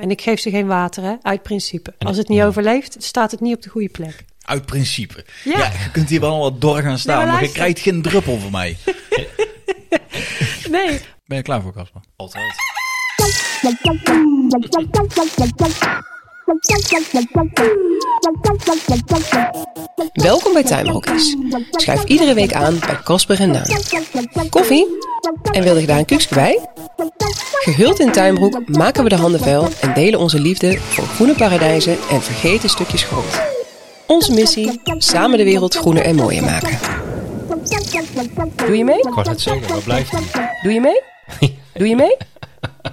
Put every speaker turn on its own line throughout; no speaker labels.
En ik geef ze geen water, hè, uit principe. Als het niet overleeft, staat het niet op de goede plek.
Uit principe. Ja.
Ja.
je kunt hier wel wat door gaan staan,
Nee, maar
maar je
luister.
krijgt geen druppel van mij.
Nee,
Ben je klaar voor, Casper?
Altijd.
Welkom bij Tuinbroekjes. Schuif iedere week aan bij Casper en Naam.
Koffie?
En wil je daar een kuksje bij? Gehuld in tuinbroek maken we de handen vuil en delen onze liefde voor groene paradijzen en vergeten stukjes grond. Onze missie: samen de wereld groener en mooier maken. Doe je mee?
Ik wou net zeggen, maar blijft niet.
Doe je mee? Doe je mee?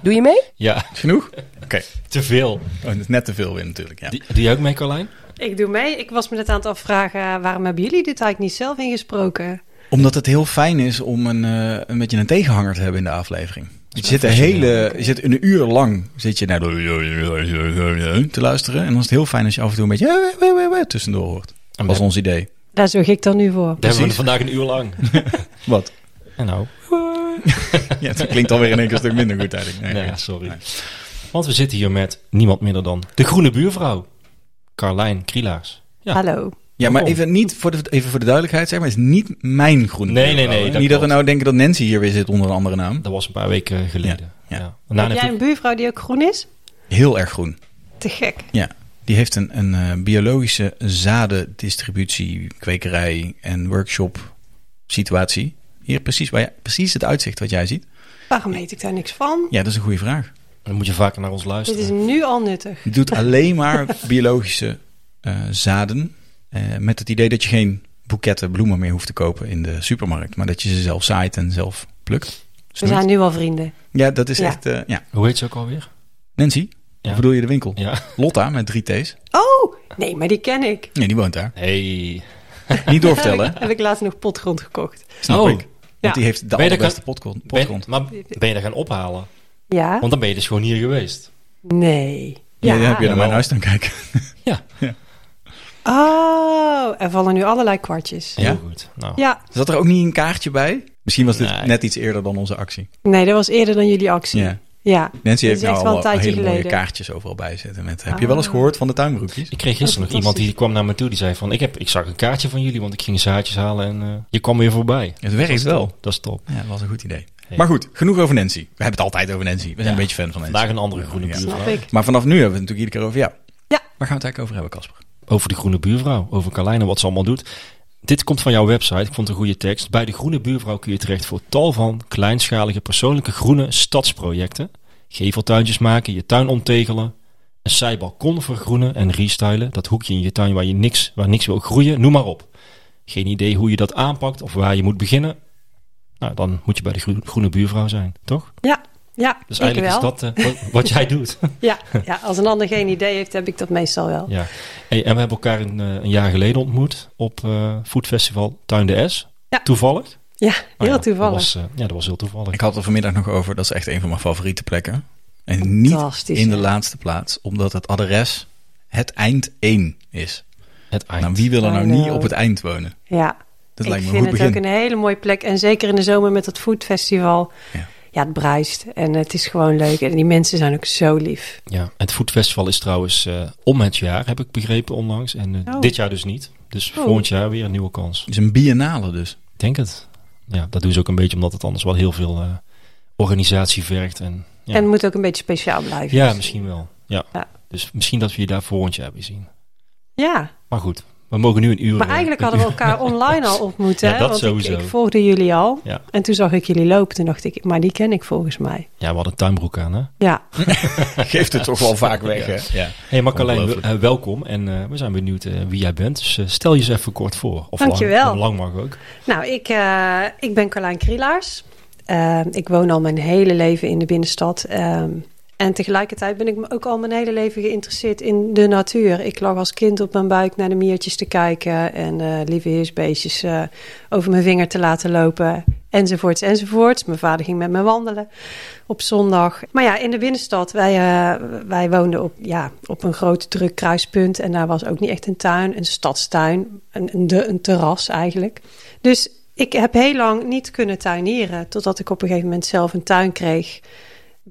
Doe je mee?
Ja,
Genoeg? Oké.
te veel.
Oh, dat is net te veel weer natuurlijk, ja.
Die, doe je ook mee, Carlijn?
ik doe mee. Ik was me net aan het afvragen, eh, waarom hebben jullie dit eigenlijk niet zelf ingesproken?
Omdat het heel fijn is om een, eh, een beetje een tegenhanger te hebben in de aflevering. Je zit, een hele, je zit een uur lang zit je naar de- te luisteren. En dan is het heel fijn als je af en toe een beetje eh, eh, eh, eh, tussendoor hoort. Dat was ons idee.
Daar zorg ik dan nu voor.
Daar hebben we vandaag een uur lang.
Wat?
En nou,
Ja, het klinkt alweer in één keer een stuk minder goed eigenlijk. Nee,
nee,
ja.
sorry. Want we zitten hier met niemand minder dan de groene buurvrouw. Carlijn Krielaars. Ja.
Hallo.
Ja, maar even, niet voor de, even voor de duidelijkheid, zeg maar, het is niet mijn groene
Nee,
buurvrouw,
nee, nee,
hè?
dat
Niet dat we
klopt.
nou denken dat Nancy hier weer zit onder een andere naam.
Dat was een paar weken geleden. Nou,
Ja, ja.
Daarna
Heb
heeft
jij een
ook-
buurvrouw die ook groen is?
Heel erg groen.
Te gek.
Ja, die heeft een, een eh, biologische zadendistributie, kwekerij en workshop situatie. Hier precies, waar jij- precies het uitzicht wat jij ziet.
Waarom weet ik daar niks van?
Ja, dat is een goede vraag.
Dan moet je vaker naar ons
Dit
luisteren.
is nu al nuttig.
Die doet alleen maar biologische eh, zaden. eh, met het idee dat je geen boeketten bloemen meer hoeft te kopen in de supermarkt. Maar dat je ze zelf zaait en zelf plukt.
We
Snoeit.
zijn nu al vrienden.
Ja, dat is
Ja.
echt... eh, ja.
Hoe heet ze ook alweer?
Nancy,
Ja.
of bedoel je de winkel?
Ja.
Lotta met drie T's.
Oh, nee, maar die ken ik.
Nee, die woont daar.
Hey.
Niet doorvertellen,
Heb ik, heb ik laatst nog potgrond gekocht.
snap
Oh.
ik. Want die heeft de
Ben je dat-
allerbeste potgrond.
Ben,
potgrond.
maar ben je daar gaan ophalen?
Ja?
Want dan ben je dus gewoon hier geweest.
Nee.
Ja, dan heb je
Ja.
naar mijn huis dan kijken.
Ja.
Oh, er vallen nu allerlei kwartjes.
Heel
Ja?
goed. Nou,
Ja,
Zat er ook niet een kaartje bij? Misschien was dit
Nee.
net iets eerder dan onze actie.
nee, dat was eerder dan jullie actie.
Ja.
Ja.
Nancy
Dat
heeft
is echt wel
nou
een
allemaal hele
tijdje
mooie
geleden. Ah.
kaartjes overal bij zitten. Met, heb je wel eens gehoord van de tuinbroekjes?
Ik kreeg gisteren
Oh,
nog iemand die kwam naar me toe. Die zei van, ik, heb, ik zag een kaartje van jullie, want ik ging zaadjes halen en eh, je kwam weer voorbij.
Het werkt wel.
Dat is top.
Ja, dat was een goed idee.
Hey.
Maar goed, genoeg over Nancy. We hebben het altijd over Nancy. We zijn
Ja.
een beetje fan van Nancy.
Vandaag een andere groene
Ja.
Snap
buurvrouw.
ik.
Maar vanaf nu hebben we het natuurlijk iedere keer over jou.
Ja.
Waar gaan we het eigenlijk over hebben, Casper?
Over de groene buurvrouw, over Carlijn en wat ze allemaal doet. Dit komt van jouw website, ik vond het een goede tekst. Bij de groene buurvrouw kun je terecht voor tal van kleinschalige persoonlijke groene stadsprojecten. Geveltuintjes maken, je tuin omtegelen, een zijbalkon vergroenen en restylen. Dat hoekje in je tuin waar, je niks, waar niks wil groeien, noem maar op. Geen idee hoe je dat aanpakt of waar je moet beginnen. Nou, dan moet je bij de groe- groene buurvrouw zijn, toch?
Ja, ja
Dus
ik
eigenlijk
wel.
is dat eh, wat, wat jij doet.
Ja, ja, als een ander geen idee heeft, heb ik dat meestal wel.
Ja. Hey, en we hebben elkaar een, eh, een jaar geleden ontmoet op eh Food Festival Tuin de S.
Ja.
Toevallig.
Ja,
Oh
heel
ja,
toevallig.
Dat was, eh, ja, dat was heel toevallig.
Ik had het er vanmiddag nog over. Dat is echt een van mijn favoriete plekken. En niet
Fantastisch,
in de
ja.
laatste plaats, omdat het adres het eind 1 is.
Het eind.
Nou, wie wil er nou
I
niet
know.
op het eind wonen?
Ja,
Dat
ik
lijkt me
vind
een goed
het
begin.
ook een hele mooie plek. En zeker in de zomer met dat foodfestival.
Ja.
Ja. het bruist. En het is gewoon leuk. En die mensen zijn ook zo lief.
Ja, het Food Festival is trouwens eh, om het jaar, heb ik begrepen onlangs. En eh,
Oh.
dit jaar dus niet. Dus
Oh.
volgend jaar weer een nieuwe kans.
Het is een biennale dus.
Ik denk het. Ja, dat doen ze ook een beetje omdat het anders wel heel veel eh, organisatie vergt. En, ja.
En het moet ook een beetje speciaal blijven. Dus
ja, misschien wel. Ja.
Ja.
Dus misschien dat we je daar volgend jaar weer zien.
Ja,
Maar goed, we mogen nu een uur...
maar
eh,
eigenlijk
een
hadden we
uur-
elkaar online al ontmoet.
Ja,
hè?
dat
Want
sowieso.
Ik, ik volgde jullie al.
Ja.
En toen zag ik jullie lopen. Toen dacht ik, maar die ken ik volgens mij.
Ja, we hadden een tuinbroek aan, hè?
Ja,
Geeft het toch wel vaak weg, hè? Ja.
Hey Marcolijn,
Ongelooflijk.
eh, welkom en eh, we zijn benieuwd eh, wie jij bent. Dus eh, stel je eens even kort voor. Of
Dankjewel.
Lang, lang mag ook.
Nou, ik, eh, ik ben Carlijn Krielaars. Eh, ik woon al mijn hele leven in de binnenstad. Ehm, en tegelijkertijd ben ik me ook al mijn hele leven geïnteresseerd in de natuur. Ik lag als kind op mijn buik naar de miertjes te kijken en eh, lieve heersbeestjes eh, over mijn vinger te laten lopen. Enzovoorts, enzovoorts. Mijn vader ging met me wandelen op zondag. Maar ja, in de binnenstad, wij, eh, wij woonden op, ja, op een groot druk kruispunt. En daar was ook niet echt een tuin, een stadstuin, een, een, de- een terras eigenlijk. Dus ik heb heel lang niet kunnen tuinieren, totdat ik op een gegeven moment zelf een tuin kreeg.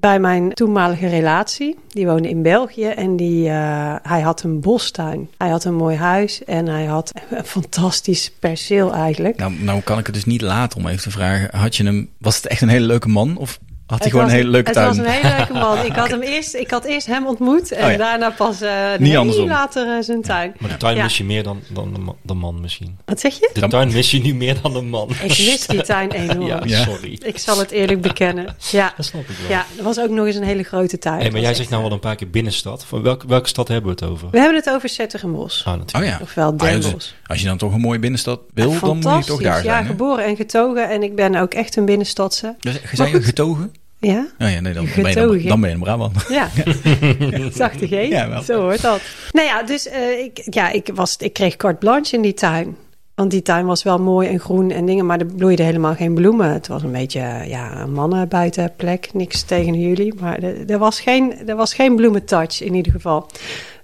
bij mijn toenmalige relatie. Die woonde in België en die, eh, hij had een bostuin. Hij had een mooi huis en hij had een fantastisch perceel eigenlijk.
Nou, nou kan ik het dus niet laten om even te vragen. Had je hem, was het echt een hele leuke man? Of had hij
Het
gewoon
was-
een hele leuke tuin?
Het was een hele leuke man. Ik had, hem eerst, ik had eerst hem ontmoet en
Oh ja.
daarna pas eh
Niet
heel
andersom.
later eh, zijn tuin.
Maar de tuin
Ja.
mis je meer dan, dan de, ma- de man misschien.
Wat zeg je?
De
Dan-
tuin mis je nu meer dan de man.
Ik mis die tuin enorm.
ja,
Ja.
sorry.
Ik zal het eerlijk bekennen. Ja.
Dat snap ik wel.
ja, er was ook nog eens een hele grote tuin.
Hey, maar
Het
jij
was
zegt
echt-
nou wel een paar keer binnenstad. Van welke, welke stad hebben we het over?
We hebben het over Zettergenbos.
Ah,
Oh
natuurlijk.
ja.
Ofwel
Ah, ja, dus
Dendels.
als je dan toch een mooie binnenstad Ah, wil,
Ja,
dan moet je toch daar
fantastisch.
zijn.
Ja,
hè?
geboren en getogen. En ik ben ook echt een binnenstadse.
Dus, je
Maar
zei
goed.
getogen?
Ja?
Oh ja, nee, dan,
Getogen.
Ben, je dan, dan ben je een Brabant.
Ja, zachte G.
Ja, wel.
Zo hoort dat. Nou ja, dus eh, ik, ja, ik, was, ik kreeg carte blanche in die tuin. Want die tuin was wel mooi en groen en dingen, maar er bloeiden helemaal geen bloemen. Het was een beetje eh, ja, een mannenbuitenplek. Niks tegen jullie, maar er, er was geen, er was geen bloementouch in ieder geval.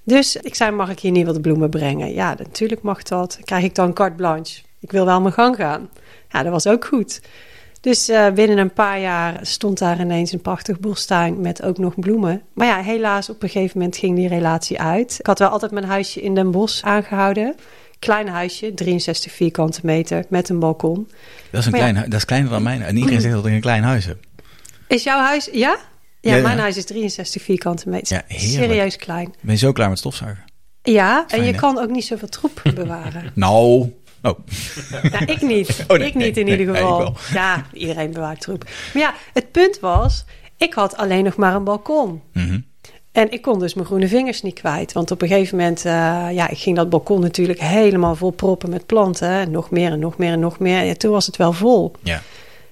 Dus ik zei, mag ik hier niet wat bloemen brengen? Ja, natuurlijk mag dat. Krijg ik dan carte blanche? Ik wil wel mijn gang gaan. Ja, dat was ook goed. Dus eh, binnen een paar jaar stond daar ineens een prachtig boelstuin met ook nog bloemen. Maar ja, helaas op een gegeven moment ging die relatie uit. Ik had wel altijd mijn huisje in Den Bosch aangehouden. Klein huisje, 63 vierkante meter met een balkon.
Dat is, een
Maar ja.
klein, hu- dat is kleiner dan mijn. En iedereen zegt dat ik een klein huis heb.
Is jouw huis, ja? Ja,
Ja, ja.
mijn huis is 63 vierkante meter.
Ja, heerlijk.
Serieus klein.
Ben je zo klaar met stofzuigen?
Ja,
Fijn,
en je
hè?
kan ook niet zoveel troep bewaren.
Nou. Oh,
Nou, ik niet.
Oh, nee,
ik niet
nee,
in ieder
nee,
geval.
nee, ik
ja, iedereen bewaart troep. Maar ja, het punt was, ik had alleen nog maar een balkon.
Mhm.
En ik kon dus mijn groene vingers niet kwijt. Want op een gegeven moment, eh, ja, ik ging dat balkon natuurlijk helemaal vol proppen met planten. En nog meer en nog meer en nog meer. En toen was het wel vol.
ja.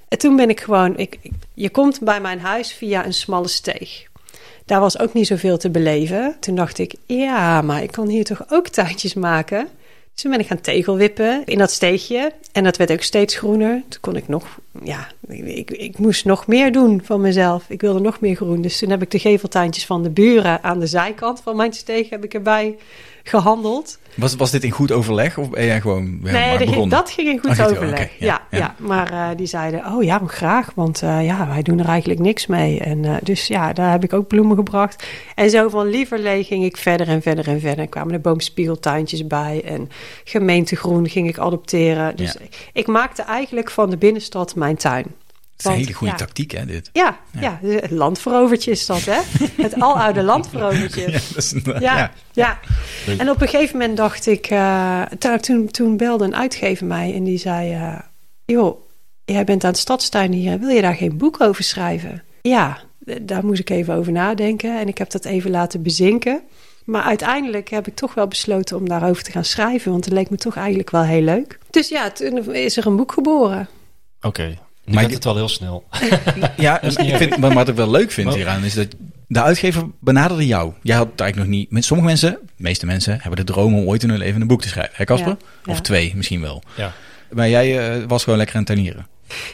En toen ben ik gewoon, ik, ik- je komt bij mijn huis via een smalle steeg. Daar was ook niet zoveel te beleven. Toen dacht ik, ja, maar ik kan hier toch ook tuintjes maken? Dus toen ben ik gaan tegelwippen in dat steegje. En dat werd ook steeds groener. Toen kon ik nog, ja, ik, ik, ik moest nog meer doen van mezelf. Ik wilde nog meer groen. Dus toen heb ik de geveltuintjes van de buren aan de zijkant van mijn steeg heb ik erbij gehandeld.
Was, was dit in goed overleg of ben jij gewoon ja,
Nee,
maar
dat ging,
begonnen?
dat ging in goed
Oh, ging het-
overleg.
oké,
ja, ja, maar eh, die zeiden, oh ja, maar graag, want eh, ja, wij doen er eigenlijk niks mee. En, eh, dus ja, daar heb ik ook bloemen gebracht. En zo van lieverlee ging ik verder en verder en verder. Er kwamen er boomspiegeltuintjes bij en gemeentegroen ging ik adopteren. Dus
Ja.
ik, ik maakte eigenlijk van de binnenstad mijn tuin.
Het is een
Want,
hele goede
ja,
tactiek, hè, dit.
Ja, ja. dus het landverovertje is dat, hè? het aloude landverovertje.
Ja, dat is inderdaad-
Ja, ja.
ja.
Leuk.
En op een gegeven moment dacht ik, eh, to- toen, toen belde een uitgever mij en die zei: eh, Joh, jij bent aan het stadstuin hier, wil je daar geen boek over schrijven? Ja, d- daar moest ik even over nadenken en ik heb dat even laten bezinken. Maar uiteindelijk heb ik toch wel besloten om daarover te gaan schrijven, want het leek me toch eigenlijk wel heel leuk. Dus ja, toen is er een boek geboren.
Oké, nu
Maar
gaat
je-
het wel heel snel.
Ja, en ik vind, maar wat ik wel leuk vind
Maar-
hieraan is dat de uitgever benaderde jou. Jij had het eigenlijk nog niet. Met sommige mensen, de meeste mensen, hebben de droom om ooit in hun leven een boek te schrijven. Hè, Casper?
Ja,
Of
ja.
twee misschien wel.
Ja.
Maar jij eh, was gewoon lekker aan het tuinieren.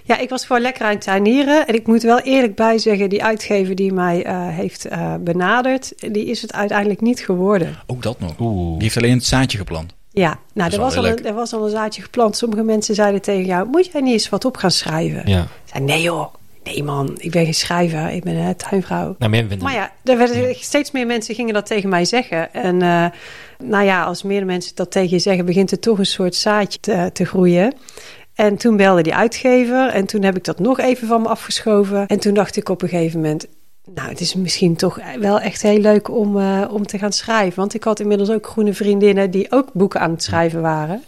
Ja, ik was gewoon lekker aan het tuinieren. En ik moet wel eerlijk bij zeggen, die uitgever die mij eh, heeft eh, benaderd, die is het uiteindelijk niet geworden.
Ook dat nog.
Oeh.
Die heeft alleen het zaadje geplant.
Ja, nou,
is
er
wel
was,
heel
al een,
leuk.
er was al een zaadje geplant. Sommige mensen zeiden tegen jou, moet jij niet eens wat op gaan schrijven?
Ja.
Ik zei, nee joh, nee man, ik ben geen schrijver, ik ben een tuinvrouw.
Nou, maar jij bent
Maar ja, er werden, steeds meer mensen gingen dat tegen mij zeggen. En eh, nou ja, als meer mensen dat tegen je zeggen, begint er toch een soort zaadje te, te groeien. En toen belde die uitgever en toen heb ik dat nog even van me afgeschoven. En toen dacht ik op een gegeven moment, nou het is misschien toch wel echt heel leuk om, eh, om te gaan schrijven. Want ik had inmiddels ook groene vriendinnen die ook boeken aan het schrijven waren.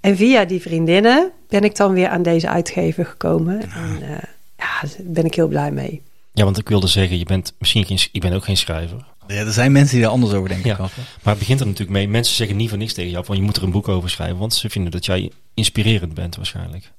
En via die vriendinnen ben ik dan weer aan deze uitgever gekomen. En eh, ja, daar ben ik heel blij mee.
Ja, want ik wilde zeggen, je bent misschien geen, ik ben ook geen schrijver.
Ja, er zijn mensen die er anders over denken.
Ja.
Casper.
Maar het begint er natuurlijk mee. Mensen zeggen niet voor niks tegen jou van je moet er een boek over schrijven, want ze vinden dat jij inspirerend bent waarschijnlijk.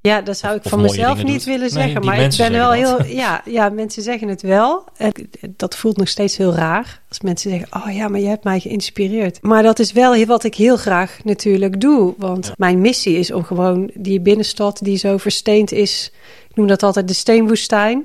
Ja, dat zou ik
Of
van
mooie
mezelf
dingen
niet
doet.
willen
Nee,
zeggen.
die
maar ik
mensen
ben wel
zeggen
heel.
dat.
Ja, ja, mensen zeggen het wel. En dat voelt nog steeds heel raar. Als mensen zeggen: Oh ja, maar je hebt mij geïnspireerd. Maar dat is wel heel- wat ik heel graag natuurlijk doe. Want mijn missie is om gewoon die binnenstad die zo versteend is. Ik noem dat altijd de steenwoestijn.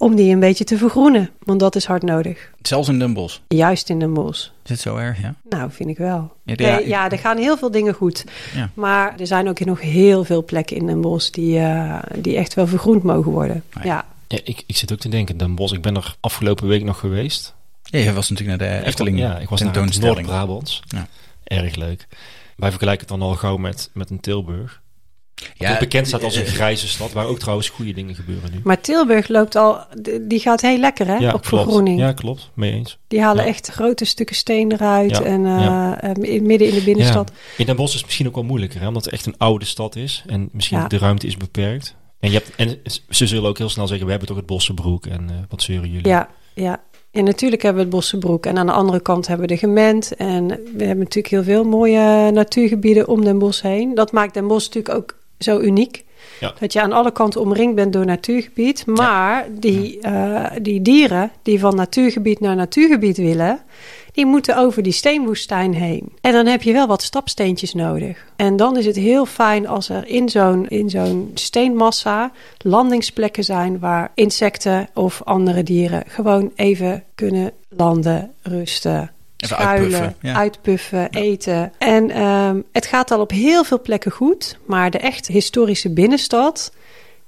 Om die een beetje te vergroenen. Want dat is hard nodig.
Zelfs in Den Bosch.
Juist in de mos.
Is het zo erg, ja?
Nou, vind ik wel.
Ja,
Ja,
ja, ik-
ja er gaan heel veel dingen goed.
Ja.
Maar er zijn ook nog heel veel plekken in Den Bosch die, eh, die echt wel vergroend mogen worden.
Ah, ja.
ja.
Ja, ik, ik zit ook te denken, Den Bosch, ik ben er afgelopen week nog geweest.
Ja, je was natuurlijk naar de Efteling
Ik, wa- ja, ik was naar het
tentoonstelling.
Noord-Brabants.
Ja.
Erg leuk. Wij vergelijken het dan al gauw met, met een Tilburg.
Ja,
Wat bekend staat als een
eh,
grijze stad, waar ook trouwens goede dingen gebeuren nu.
Maar Tilburg loopt al, d- die gaat heel lekker hè, op vergroening.
Ja, klopt. Mee eens.
Die halen
Ja.
echt grote stukken steen eruit
Ja,
en eh,
ja.
eh, in- midden in de binnenstad.
In Den Bosch is het misschien ook wel moeilijker, hè, omdat het echt een oude stad is. En misschien
Ja.
de ruimte is beperkt. En, je hebt, en ze zullen ook heel snel zeggen, we hebben toch het Bossenbroek en eh, wat zeuren jullie.
Ja, ja. En natuurlijk hebben we het Bossenbroek. En aan de andere kant hebben we de Gement. En we hebben natuurlijk heel veel mooie natuurgebieden om Den Bosch heen. Dat maakt Den Bosch natuurlijk ook zo uniek.
Ja.
Dat je aan alle kanten omringd bent door natuurgebied. Maar die, eh, die dieren die van natuurgebied naar natuurgebied willen... die moeten over die steenwoestijn heen. En dan heb je wel wat stapsteentjes nodig. En dan is het heel fijn als er in zo'n, in zo'n steenmassa... landingsplekken zijn waar insecten of andere dieren... gewoon even kunnen landen, rusten...
Even
schuilen,
uitpuffen, ja.
uitpuffen, eten. En ehm, het gaat al op heel veel plekken goed. Maar de echt historische binnenstad,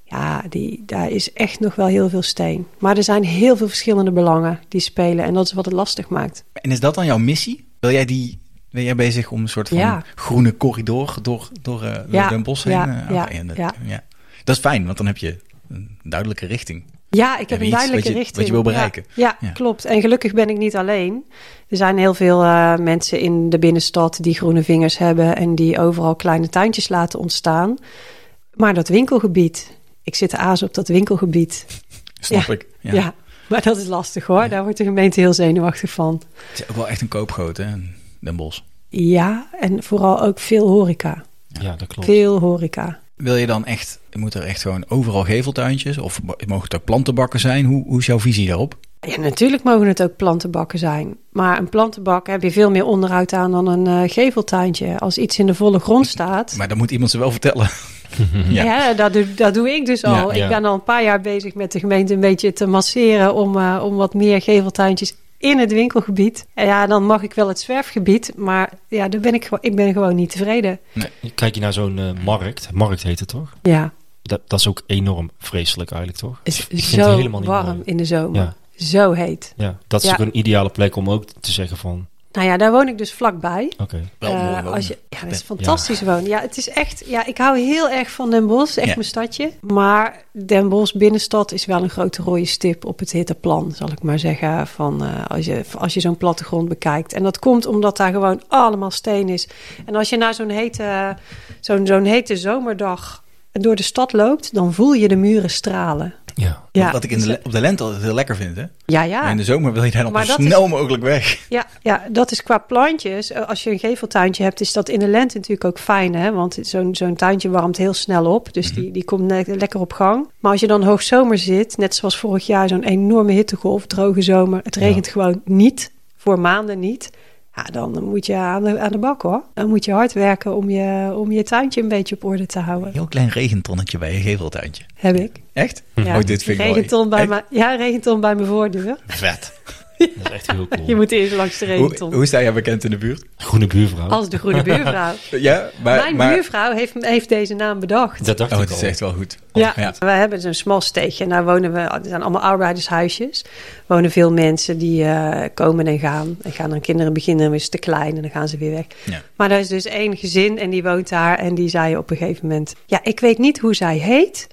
ja, die, daar is echt nog wel heel veel steen. Maar er zijn heel veel verschillende belangen die spelen. En dat is wat het lastig maakt.
En is dat dan jouw missie? Wil jij die... Ben jij bezig om een soort van
Ja.
groene corridor door, door, eh, door
Ja,
Den Bosch heen?
ja,
eh, oké,
ja,
en dat,
ja.
ja. dat is fijn, want dan heb je een duidelijke richting.
Ja, ik
Ja,
heb een
iets
duidelijke
wat je-
richting.
wat je wil bereiken.
Ja, ja,
Ja.
klopt. En gelukkig ben ik niet alleen. Er zijn heel veel eh, mensen in de binnenstad die groene vingers hebben en die overal kleine tuintjes laten ontstaan. Maar dat winkelgebied, ik zit de aas op dat winkelgebied.
Snap
Ja.
ik.
Ja. maar dat is lastig hoor. Daar wordt de gemeente heel zenuwachtig van.
Het is ook wel echt een koopgoot, hè, Den Bosch.
Ja, en vooral ook veel horeca.
Ja, dat klopt.
Veel horeca.
Wil je dan echt, moet er echt gewoon overal geveltuintjes? Of mo- mogen het ook plantenbakken zijn? Hoe, hoe is jouw visie daarop?
Ja, natuurlijk mogen het ook plantenbakken zijn. Maar een plantenbak heb je veel meer onderhoud aan dan een eh, geveltuintje. Als iets in de volle grond staat.
Maar dan moet iemand ze wel vertellen.
Ja, dat, doe, dat doe ik dus al.
Ja,
ja.
Ik ben al een paar jaar bezig met de gemeente een beetje te masseren om, eh, om wat meer geveltuintjes in het winkelgebied. En ja, dan mag ik wel het zwerfgebied, maar ja, daar ben ik, gewo- ik ben gewoon niet tevreden.
Kijk je naar zo'n eh, markt, markt heet het toch?
Ja,
Dat, dat is ook enorm vreselijk eigenlijk, toch?
het
Ik
is
vind het
zo
helemaal niet
warm
mooi.
in de zomer.
Ja.
Zo heet.
Ja, dat is
Ja.
ook een ideale plek om ook te zeggen van,
Nou ja, daar woon ik dus vlakbij.
oké.
Wel
Eh,
mooi wonen.
als je, ja, dat is fantastisch wonen. Ja, het is echt. Ja, ik hou heel erg van Den Bosch, echt
Ja.
mijn stadje. Maar Den Bosch binnenstad is wel een grote rode stip op het hitteplan, zal ik maar zeggen. Van eh, als je, als je zo'n plattegrond bekijkt. En dat komt omdat daar gewoon allemaal steen is. En als je na zo'n hete, zo'n zo'n hete zomerdag door de stad loopt, dan voel je de muren stralen.
Ja.
Ja,
Wat ik in de, le- op de lente altijd heel lekker vind, hè?
ja, ja.
Maar in de zomer wil je daar
Maar
dan zo
dat is-
snel mogelijk weg.
Ja, ja, dat is qua plantjes. Eh, Als je een geveltuintje hebt, is dat in de lente natuurlijk ook fijn. Hè? Want zo'n zo'n tuintje warmt heel snel op. Dus
Mhm.
die, die komt net lekker op gang. Maar als je dan hoogzomer zit, net zoals vorig jaar, zo'n enorme hittegolf, droge zomer. Het regent gewoon niet, voor maanden niet. Ja, dan moet je aan de, aan de bak hoor. Dan moet je hard werken om je, om je tuintje een beetje op orde te houden.
Een heel klein regentonnetje bij je geveltuintje.
Heb ik.
Echt?
Ja.
Oh, dit vind ik mooi.
regenton bij
Echt
mijn, Ja, regenton bij mijn voordeur.
Vet.
Dat is echt heel cool.
Je moet eerst langs de
Hoe,
regenton.
hoe sta jij bekend in de buurt?
Groene buurvrouw.
Als de groene buurvrouw.
Ja, maar...
Mijn
maar...
buurvrouw heeft, heeft deze naam bedacht.
Dat dacht
Oh,
ik
het
al.
is echt wel goed.
Ja,
ja.
we hebben zo'n smal steegje en daar wonen we. Er zijn allemaal arbeidershuisjes. Er wonen veel mensen die eh, komen en gaan. En gaan dan kinderen beginnen, is te klein en dan gaan ze weer weg.
Ja.
Maar daar is dus één gezin en die woont daar. En die zei op een gegeven moment: Ja, ik weet niet hoe zij heet.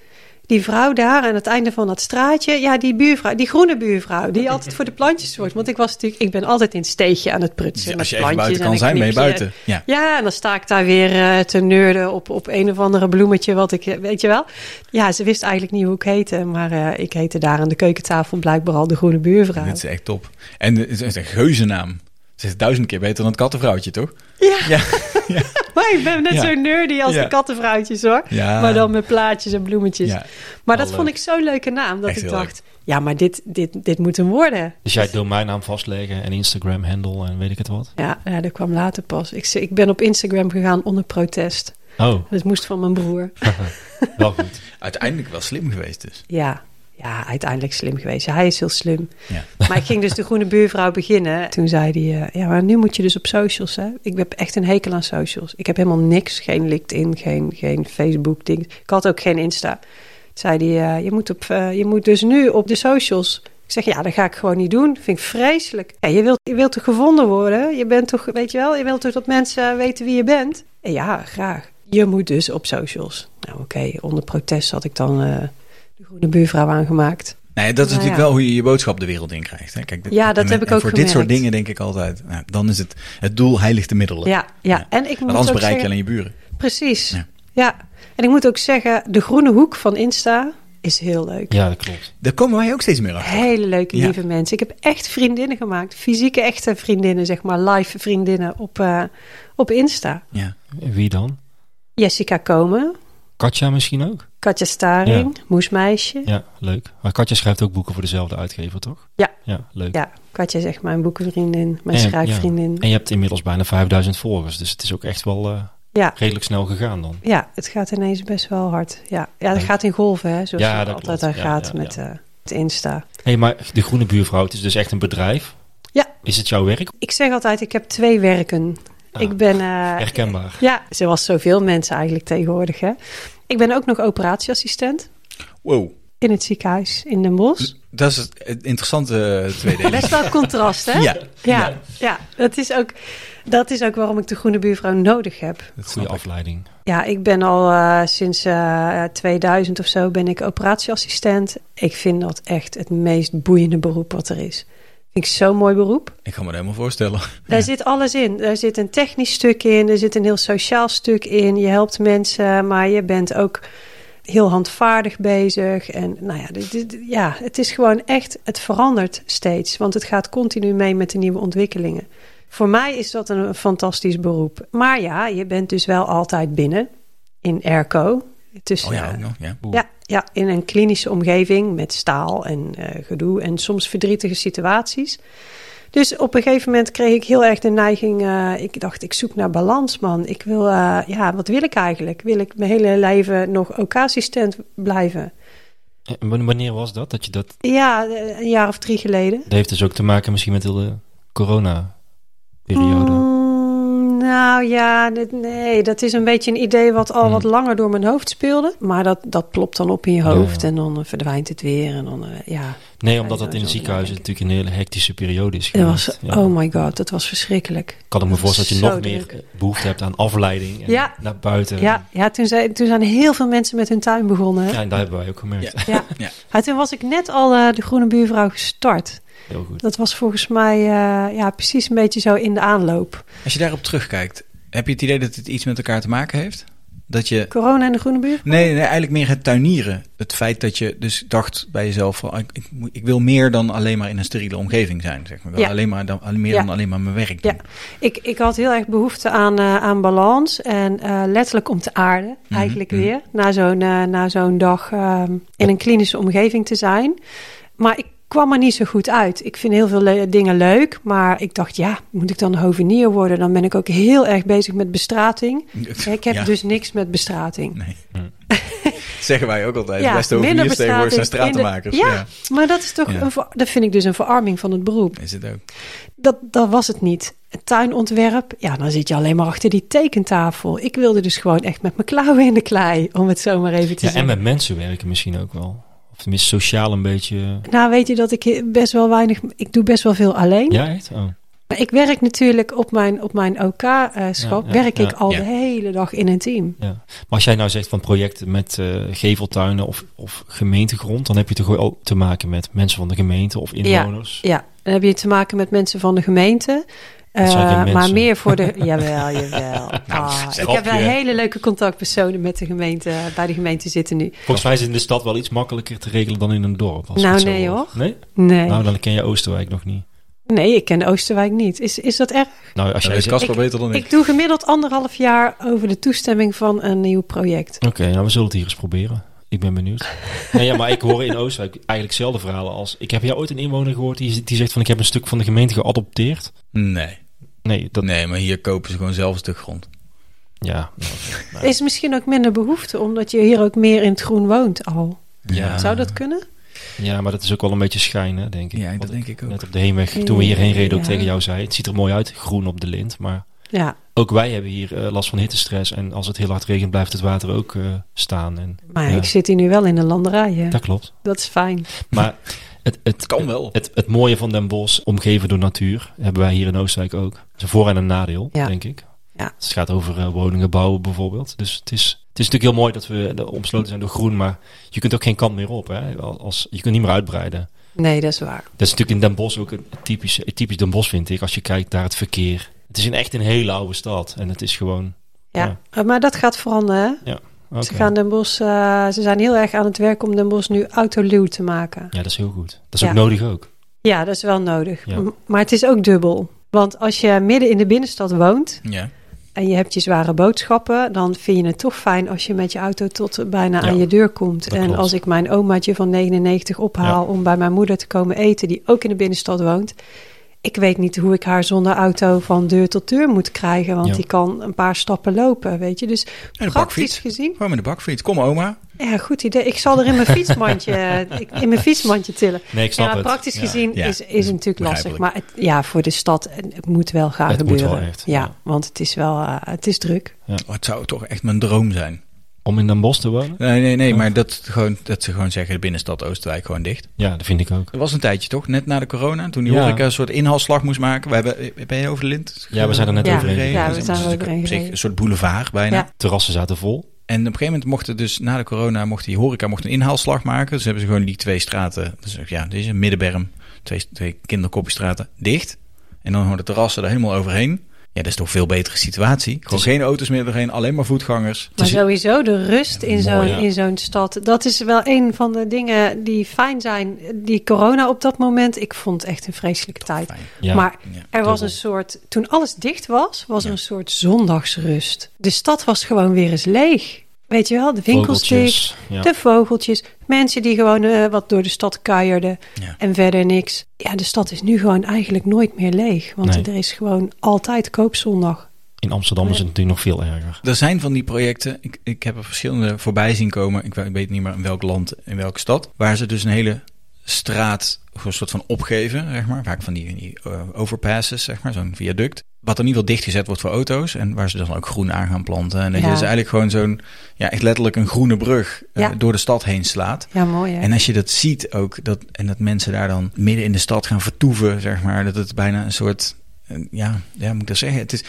Die vrouw daar aan het einde van dat straatje, ja, die buurvrouw, die groene buurvrouw, die altijd voor de plantjes zorgt. Want ik was natuurlijk, ik ben altijd in het steegje aan het prutsen.
Ja,
met
als je even
plantjes
buiten
en
kan
een
zijn, ben je
knipje.
buiten. Ja.
Ja, en dan sta ik daar weer eh, te neurden op, op een of andere bloemetje, wat ik, eh, weet je wel. Ja, ze wist eigenlijk niet hoe ik heette, maar eh, ik heette daar aan de keukentafel blijkbaar al de groene buurvrouw.
Dit is echt top. En het is echt een geuzennaam. Ze is duizend keer beter dan het kattenvrouwtje, toch?
Ja,
Ja.
maar ik ben net
Ja.
zo nerdy als
Ja.
de kattenvrouwtjes hoor.
Ja.
Maar dan met plaatjes en bloemetjes.
Ja.
Maar
Wel
dat vond
leuk.
ik zo'n leuke naam, dat
Echt
ik
heel
dacht, ja, maar dit, dit, dit moet hem worden.
Dus jij domeinnaam vastleggen en Instagram handle en weet ik het wat.
Ja, ja, dat kwam later pas. Ik, ze- ik ben op Instagram gegaan onder protest.
Oh,
Dat moest van mijn broer.
wel goed.
Uiteindelijk wel slim geweest dus.
Ja, ja uiteindelijk slim geweest. Hij is heel slim.
Ja.
Maar ik ging dus de groene buurvrouw beginnen. Toen zei hij, eh, ja, maar nu moet je dus op socials, hè. Ik heb echt een hekel aan socials. Ik heb helemaal niks. Geen LinkedIn, geen, geen Facebook, ding. Ik had ook geen Insta. zei die eh, je, moet op, eh, je moet dus nu op de socials. Ik zeg, ja, dat ga ik gewoon niet doen. Vind ik vreselijk. Ja, je, wilt, je wilt toch gevonden worden? Je bent toch, weet je wel, je wilt toch dat mensen weten wie je bent? En ja, graag. Je moet dus op socials. Nou, oké, onder protest had ik dan eh, de groene buurvrouw aangemaakt.
Nee, dat
Nou
is natuurlijk
ja.
wel hoe je je boodschap de wereld in krijgt. Hè? Kijk,
Ja, dat
en-
heb ik
en
ook
Voor dit soort
gemerkt.
dingen denk ik altijd, nou, dan is het het doel heiligt de middelen.
Ja, ja. En ik moet
Want anders
ook
bereik je
zeggen-
alleen je buren.
Precies.
Ja.
Ja. En ik moet ook zeggen, de groene hoek van Insta is heel leuk.
Ja, dat klopt.
Daar komen wij ook steeds meer achter.
Hele leuke,
Ja.
lieve mensen. Ik heb echt vriendinnen gemaakt. Fysieke, echte vriendinnen, zeg maar. Live vriendinnen op, eh, op Insta.
Ja.
En Wie dan?
Jessica Komen,
Katja misschien ook?
Katja Staring, Moesmeisje.
Ja, leuk. Maar Katja schrijft ook boeken voor dezelfde uitgever, toch?
Ja.
Ja, leuk.
Ja, Katja is echt mijn boekenvriendin, mijn
En-
schrijfvriendin.
En je hebt inmiddels bijna 5000 volgers, dus het is ook echt wel eh,
Ja.
redelijk snel gegaan dan.
Ja, het gaat ineens best wel hard. Ja, ja dat
Leuk.
gaat in golven, hè, zoals
Ja,
het
dat
altijd
klopt.
aan
Ja,
gaat
ja,
met eh, het Insta.
hey, maar de Groene Buurvrouw, het is dus echt een bedrijf.
Ja.
Is het jouw werk?
Ik zeg altijd, ik heb twee werken.
Ah,
ik ben... eh,
Herkenbaar.
Ja, zoals zoveel mensen eigenlijk tegenwoordig. Hè. Ik ben ook nog operatieassistent
Wow.
in het ziekenhuis in Den Bosch.
Dat is het het interessante tweede
Best
element.
wel contrast, hè?
Ja.
ja, ja. Dat, is ook, dat is ook waarom ik de groene buurvrouw nodig heb.
Dat snap
Goede
ik.
afleiding.
Ja, ik ben al eh, sinds eh, 2000 of zo ben ik operatieassistent. Ik vind dat echt het meest boeiende beroep wat er is. Vind ik zo'n mooi beroep.
Ik kan me dat helemaal voorstellen.
Daar zit alles in. Daar zit een technisch stuk in, er zit een heel sociaal stuk in. Je helpt mensen, maar je bent ook heel handvaardig bezig. En nou ja, dit- dit- dit- ja, het is gewoon echt, het verandert steeds. Want het gaat continu mee met de nieuwe ontwikkelingen. Voor mij is dat een fantastisch beroep. Maar ja, je bent dus wel altijd binnen in airco. Tussen,
Oh ja,
eh,
ook nog. Ja.
ja, ja, in een klinische omgeving met staal en eh, gedoe en soms verdrietige situaties. Dus op een gegeven moment kreeg ik heel erg de neiging. eh, ik dacht, ik zoek naar balans, man. Ik wil, eh, ja, wat wil ik eigenlijk? Wil ik mijn hele leven nog OK-assistent blijven?
En w- wanneer was dat? Dat je dat...
Ja, eh, een jaar of drie geleden.
Dat heeft dus ook te maken misschien met de corona-periode.
Mm, nou ja, dit- nee, dat is een beetje een idee wat al
Mm.
wat langer door mijn hoofd speelde. Maar dat, dat plopt dan op in je
Ja, ja.
hoofd en dan eh, verdwijnt het weer. En dan, eh, ja.
Nee, omdat
Ja,
dat in een
sowieso,
ziekenhuis
ja, denk
natuurlijk een hele hectische periode is
Dat
geweest.
was,
Ja.
oh my god, dat was verschrikkelijk.
kan ik me
dat was
voorstellen dat je nog
zo
meer
druk.
eh, behoefte hebt aan afleiding en
Ja.
naar buiten.
Ja, ja toen, zijn, toen zijn heel veel mensen met hun tuin begonnen. Hè?
Ja, en daar hebben wij ook gemerkt.
Ja.
Ja.
Ja.
Maar toen was ik net al eh, de Groene Buurvrouw gestart.
Heel goed.
Dat was volgens mij eh, ja, precies een beetje zo in de aanloop.
Als je daarop terugkijkt, heb je het idee dat het iets met elkaar te maken heeft? Dat je
Corona en de Groene Buur?
Nee, nee, eigenlijk meer het tuinieren. Het feit dat je dus dacht bij jezelf: van, ik, ik, moet- ik wil meer dan alleen maar in een steriele omgeving zijn. Zeg maar. Ik wil
Ja.
alleen maar dan, alleen- meer
Ja.
dan alleen maar mijn werk doen.
Ja, ik, ik had heel erg behoefte aan, eh, aan balans en eh, letterlijk om te aarden, eigenlijk
mhm.
weer. Na zo'n, eh, na zo'n dag ehm, in een klinische omgeving te zijn. Maar ik kwam er niet zo goed uit. Ik vind heel veel le- dingen leuk, maar ik dacht, ja, moet ik dan hovenier worden? Dan ben ik ook heel erg bezig met bestrating. Ik heb
Ja.
dus niks met bestrating.
Nee.
Hm.
Zeggen wij ook altijd:
Ja,
de beste
minder
hoveniers tegenwoordig zijn
bestrating in de-
stratenmakers.
Ja.
Ja.
Maar dat is toch,
Ja.
een, ver- dat vind ik dus een verarming van het beroep.
is het ook.
Dat, dat was het niet. Het tuinontwerp, ja, dan zit je alleen maar achter die tekentafel. Ik wilde dus gewoon echt met mijn klauwen in de klei, om het zo maar even te
Ja, en
zeggen.
met mensen werken misschien ook wel. Of tenminste sociaal een beetje.
Nou, weet je dat ik best wel weinig, ik doe best wel veel alleen.
Ja, echt? Oh.
Maar ik werk natuurlijk op mijn, op mijn OK-schap,
Ja, ja,
werk ik
ja,
al
ja.
de hele dag in een team.
Ja. Maar als jij nou zegt van projecten met eh, geveltuinen of, of gemeentegrond, dan heb je toch wel te maken met mensen van de gemeente of inwoners.
Ja, dan heb je te maken met mensen van de gemeente.
Dat zijn geen
Eh, maar
mensen. Nou,
meer voor de. jawel, jawel. Ah, ik
grapje.
heb wel hele leuke contactpersonen met de gemeente. eh, Bij de gemeente zitten nu.
Volgens mij is het in de stad wel iets makkelijker te regelen dan in een dorp. Als
Nou,
ik het zo
nee,
hoor.
hoor.
Nee?
Nee,
Nou, dan ken je Oosterwijk nog niet.
nee ik ken Oosterwijk niet. Is, is dat erg?
Nou, als
Dat
jij
weet
zegt... Oké,
Casper beter dan ik.
Ik doe gemiddeld anderhalf jaar over de toestemming van een nieuw project.
nou, we zullen het hier eens proberen. Ik ben benieuwd. nee, ja, maar ik hoor in Oosterwijk eigenlijk zelden verhalen als... Ik heb jou ooit een inwoner gehoord die, die zegt van... Ik heb een stuk van de gemeente geadopteerd.
Nee.
Nee, dat...
nee, maar hier kopen ze gewoon zelf een stuk grond.
Ja,
Er is misschien ook minder behoefte, omdat je hier ook meer in het groen woont al.
Ja.
Zou dat kunnen?
ja, maar dat is ook wel een beetje schijn, hè, denk ik.
Ja,
Want
dat denk ik ook.
Net op de heenweg, toen we hierheen reden, ook
Ja.
tegen jou zei... Het ziet er mooi uit, groen op de lint, maar...
Ja,
Ook wij hebben hier eh, last van hittestress. En als het heel hard regent, blijft het water ook eh, staan. En,
Maar
ja,
ik zit hier nu wel in een landerij. hè.
Dat klopt.
Dat is fijn.
Maar het, het,
Kan wel.
Het, het mooie van Den Bosch, omgeven door natuur, hebben wij hier in Oostenrijk ook. Het is een voor- en een nadeel,
Ja.
denk ik.
Ja.
Het gaat over eh, woningen bouwen bijvoorbeeld. Dus het is, het is natuurlijk heel mooi dat we eh, omsloten zijn door groen, maar je kunt ook geen kant meer op. Hè? Als, als- je kunt niet meer uitbreiden.
Nee, dat is waar.
Dat is natuurlijk in Den Bosch ook een typisch, typisch Den Bosch, vind ik, als je kijkt naar het verkeer. Het is een, echt een hele oude stad en het is gewoon...
Ja. Maar dat gaat veranderen. hè.
oké.
Ze, gaan Den Bosch, eh, ze zijn heel erg aan het werk om Den Bosch nu autoluw te maken.
Ja, dat is heel goed. Dat is
Ja.
ook nodig ook.
Ja, dat is wel nodig.
Ja.
M- Maar het is ook dubbel. Want als je midden in de binnenstad woont
Ja.
en je hebt je zware boodschappen, dan vind je het toch fijn als je met je auto tot bijna
Ja,
aan je deur komt.
dat
En
klopt.
als ik mijn omaatje van 99 ophaal om bij mijn moeder te komen eten, die ook in de binnenstad woont. Ik weet niet hoe ik haar zonder auto van deur tot deur moet krijgen, want
Ja.
die kan een paar stappen lopen, weet je. Dus
En de
praktisch
bakfiets.
gezien
Gewoon met de bakfiets. Kom oma.
ja, goed idee. Ik zal er in mijn fietsmandje, eh, ik- in mijn fietsmandje tillen.
Nee, ik snap
ja, maar
het.
praktisch
Ja.
gezien
Ja,
is, is het natuurlijk lastig.
begrijpelijk.
Maar het, ja, voor de stad, eh, het moet wel gaan
Het moet
gebeuren.
wel echt,
ja,
ja.
want het is wel, eh, het is druk.
Oh, het zou toch echt mijn droom zijn.
Om in Den Bosch te wonen?
Nee, nee, nee. Maar dat, gewoon, dat ze gewoon zeggen, de binnenstad Oostenrijk gewoon dicht.
Ja, dat vind ik ook.
Dat was een tijdje toch? Net na de corona, toen die
Ja.
horeca een soort inhaalslag moest maken. We hebben, ben je over de lint?
Ja, we zijn er net
Ja.
overheen.
gereden.
Ja, we
Dat is
zijn er
natuurlijk
overheen
op zich
gereden.
Een soort boulevard bijna.
Ja.
Terrassen zaten vol.
En op een gegeven moment mochten dus na de corona mocht die horeca mocht een inhaalslag maken. Dus hebben ze gewoon die twee straten, dus ja, deze middenberm, twee, twee kinderkoppiestraten dicht. En dan gewoon de terrassen er helemaal overheen. Ja, dat is toch een veel betere situatie. Gewoon
Het is-
geen auto's meer doorheen, alleen maar voetgangers.
Maar
is-
sowieso de rust in
Mooi,
zo'n
ja.
in zo'n stad. Dat is wel een van de dingen die fijn zijn. Die corona op dat moment, ik vond het echt een vreselijke tijd.
Fijn.
Ja,
maar
Ja.
er was
dubbel.
een soort, toen alles dicht was, was
Ja.
er een soort zondagsrust. De stad was gewoon weer eens leeg. Weet je wel, de winkels dicht.
vogeltjes. Ja.
De vogeltjes, mensen die gewoon eh, wat door de stad kuierden
Ja.
en verder niks. Ja, de stad is nu gewoon eigenlijk nooit meer leeg. Want
Nee.
er is gewoon altijd koopzondag.
In Amsterdam is het natuurlijk nog veel erger.
Er zijn van die projecten, ik, ik heb er verschillende voorbij zien komen. Ik we- weet niet meer in welk land, in welke stad. Waar ze dus een hele straat, of een soort van opgeven, zeg maar. Vaak van die, die eh, overpasses, zeg maar, zo'n viaduct. Wat in ieder geval dichtgezet wordt voor auto's. En waar ze dan ook groen aan gaan planten. En dat
Ja.
je dus eigenlijk gewoon zo'n, ja, echt letterlijk een groene brug eh,
Ja.
door de stad heen slaat.
Ja, mooi hè?
En als je dat ziet ook, dat, en dat mensen daar dan midden in de stad gaan vertoeven, zeg maar, dat het bijna een soort, eh, ja, ja moet ik dat zeggen? Het is,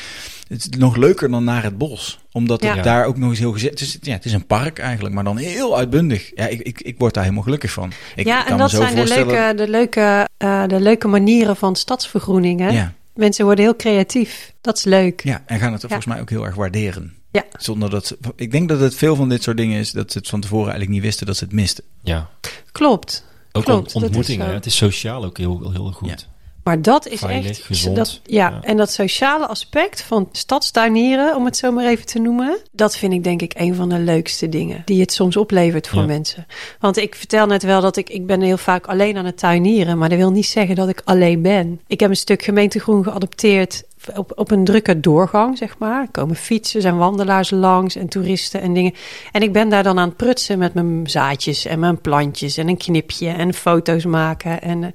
het is nog leuker dan naar het bos, omdat
Ja.
het daar ook nog eens heel gezet het is. Ja, het is een park eigenlijk, maar dan heel uitbundig. Ja, ik, ik, ik word daar helemaal gelukkig van. Ik
ja,
kan
en
me
dat
zo
zijn de
voorstellen-
leuke, de, leuke, eh, de leuke manieren van stadsvergroening. Hè?
Ja,
Mensen worden heel creatief. Dat is leuk.
ja, en gaan het volgens mij ook heel erg waarderen.
Ja.
Zonder dat ze- ik denk dat het veel van dit soort dingen is dat ze het van tevoren eigenlijk niet wisten dat ze het misten.
Ja.
Klopt.
Ook
Klopt,
on-
dat
ontmoetingen.
is zo.
hè. Het is sociaal ook heel, heel goed.
Maar dat is
Veilig,
echt...
gezond.
Dat, ja,
Ja.
en dat sociale aspect van stadstuinieren, om het zo maar even te noemen... dat vind ik denk ik een van de leukste dingen die het soms oplevert voor
Ja.
mensen. Want ik vertel net wel dat ik, ik ben heel vaak alleen aan het tuinieren... maar dat wil niet zeggen dat ik alleen ben. Ik heb een stuk gemeentegroen geadopteerd... Op, op een drukke doorgang, zeg maar. Er komen fietsers en wandelaars langs en toeristen en dingen. En ik ben daar dan aan het prutsen met mijn zaadjes en mijn plantjes en een knipje en foto's maken. En eh,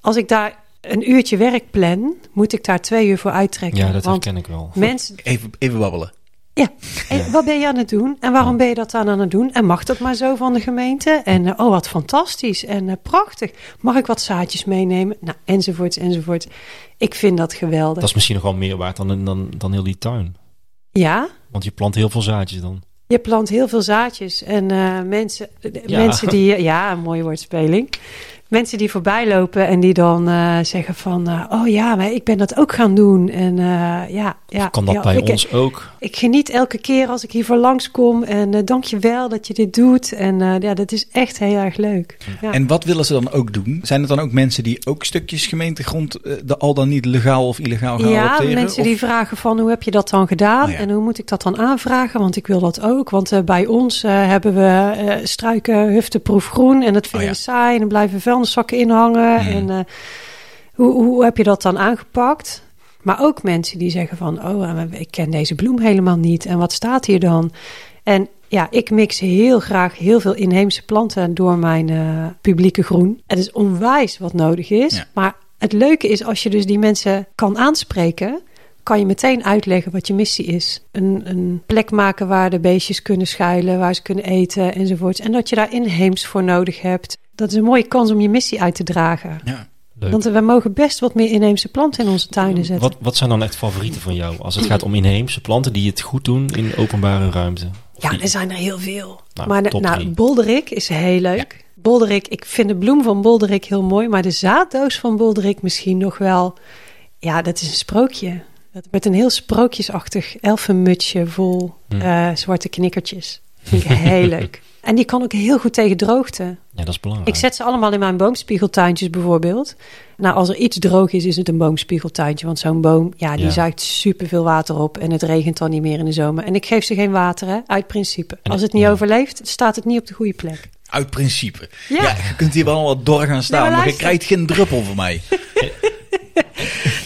als ik daar een uurtje werk plan, moet ik daar twee uur voor
Ja,
uittrekken.
dat
Want
herken ik wel.
mensen,
Even, even babbelen.
ja, en wat ben je aan het doen? En waarom ben je dat dan aan het doen? En mag dat maar zo van de gemeente? En eh, oh, wat fantastisch en eh, prachtig. Mag ik wat zaadjes meenemen? Nou, enzovoorts, enzovoorts. Ik vind dat geweldig.
Dat is misschien nog wel meer waard dan, dan, dan heel die tuin.
Ja,
Want je plant heel veel zaadjes dan.
je plant heel veel zaadjes. En eh, mensen, eh,
Ja.
mensen die... Ja, een mooie woordspeling. Mensen die voorbij lopen en die dan eh, zeggen van... eh, oh ja, maar ik ben dat ook gaan doen. En eh, ja, ja.
kan dat
ja,
bij
ik-
ons ook?
Ik geniet elke keer als ik hiervoor langskom. En eh dank je wel dat je dit doet. En eh, ja, dat is echt heel erg leuk. Ja.
En wat willen ze dan ook doen? Zijn het dan ook mensen die ook stukjes gemeentegrond eh, de- al dan niet legaal of illegaal nou gaan
ja,
adopteren?
mensen
Of-
die vragen van hoe heb je dat dan gedaan
Oh ja.
en hoe moet ik dat dan aanvragen, want ik wil dat ook. Want eh, bij ons eh, hebben we eh, struiken hufteproef groen en dat vinden
Oh ja.
we saai en er blijven vuilniszakken in hangen.
Mm.
En eh, hoe, hoe heb je dat dan aangepakt? Maar ook mensen die zeggen van, oh, eh, ik ken deze bloem helemaal niet en wat staat hier dan? En ja, ik mix heel graag heel veel inheemse planten door mijn eh, publieke groen. Het is onwijs wat nodig is.
Ja.
Maar het leuke is als je dus die mensen kan aanspreken. kan je meteen uitleggen wat je missie is. Een, een plek maken waar de beestjes kunnen schuilen, waar ze kunnen eten enzovoort. En dat je daar inheems voor nodig hebt. Dat is een mooie kans om je missie uit te dragen.
Ja.
Leuk.
Want we mogen best wat meer inheemse planten in onze tuinen zetten.
Wat, wat zijn dan echt favorieten van jou als het gaat om inheemse planten die het goed doen in openbare ruimte?
Ja,
Die-
er zijn er heel veel.
Nou,
maar
top
de- nou,
drie.
bolderik is heel leuk. Bolderik, ik vind de bloem van bolderik heel mooi, maar de zaaddoos van bolderik misschien nog wel. Ja, dat is een sprookje. Dat, met een heel sprookjesachtig elfenmutsje vol
Hm.
eh, zwarte knikkertjes. Vind ik heel leuk. En die kan ook heel goed tegen droogte.
Ja, dat is belangrijk.
Ik zet ze allemaal in mijn boomspiegeltuintjes bijvoorbeeld. Nou, als er iets droog is, is het een boomspiegeltuintje. Want zo'n boom, ja, die
Ja.
zuigt superveel water op. En het regent dan niet meer in de zomer. En ik geef ze geen water, hè, uit principe.
En-
Als het niet
ja.
overleeft, staat het niet op de goede plek.
Uit principe. Ja.
Ja.
je kunt hier wel wat door gaan staan,
Nee, maar
maar je
luister.
krijgt geen druppel van mij.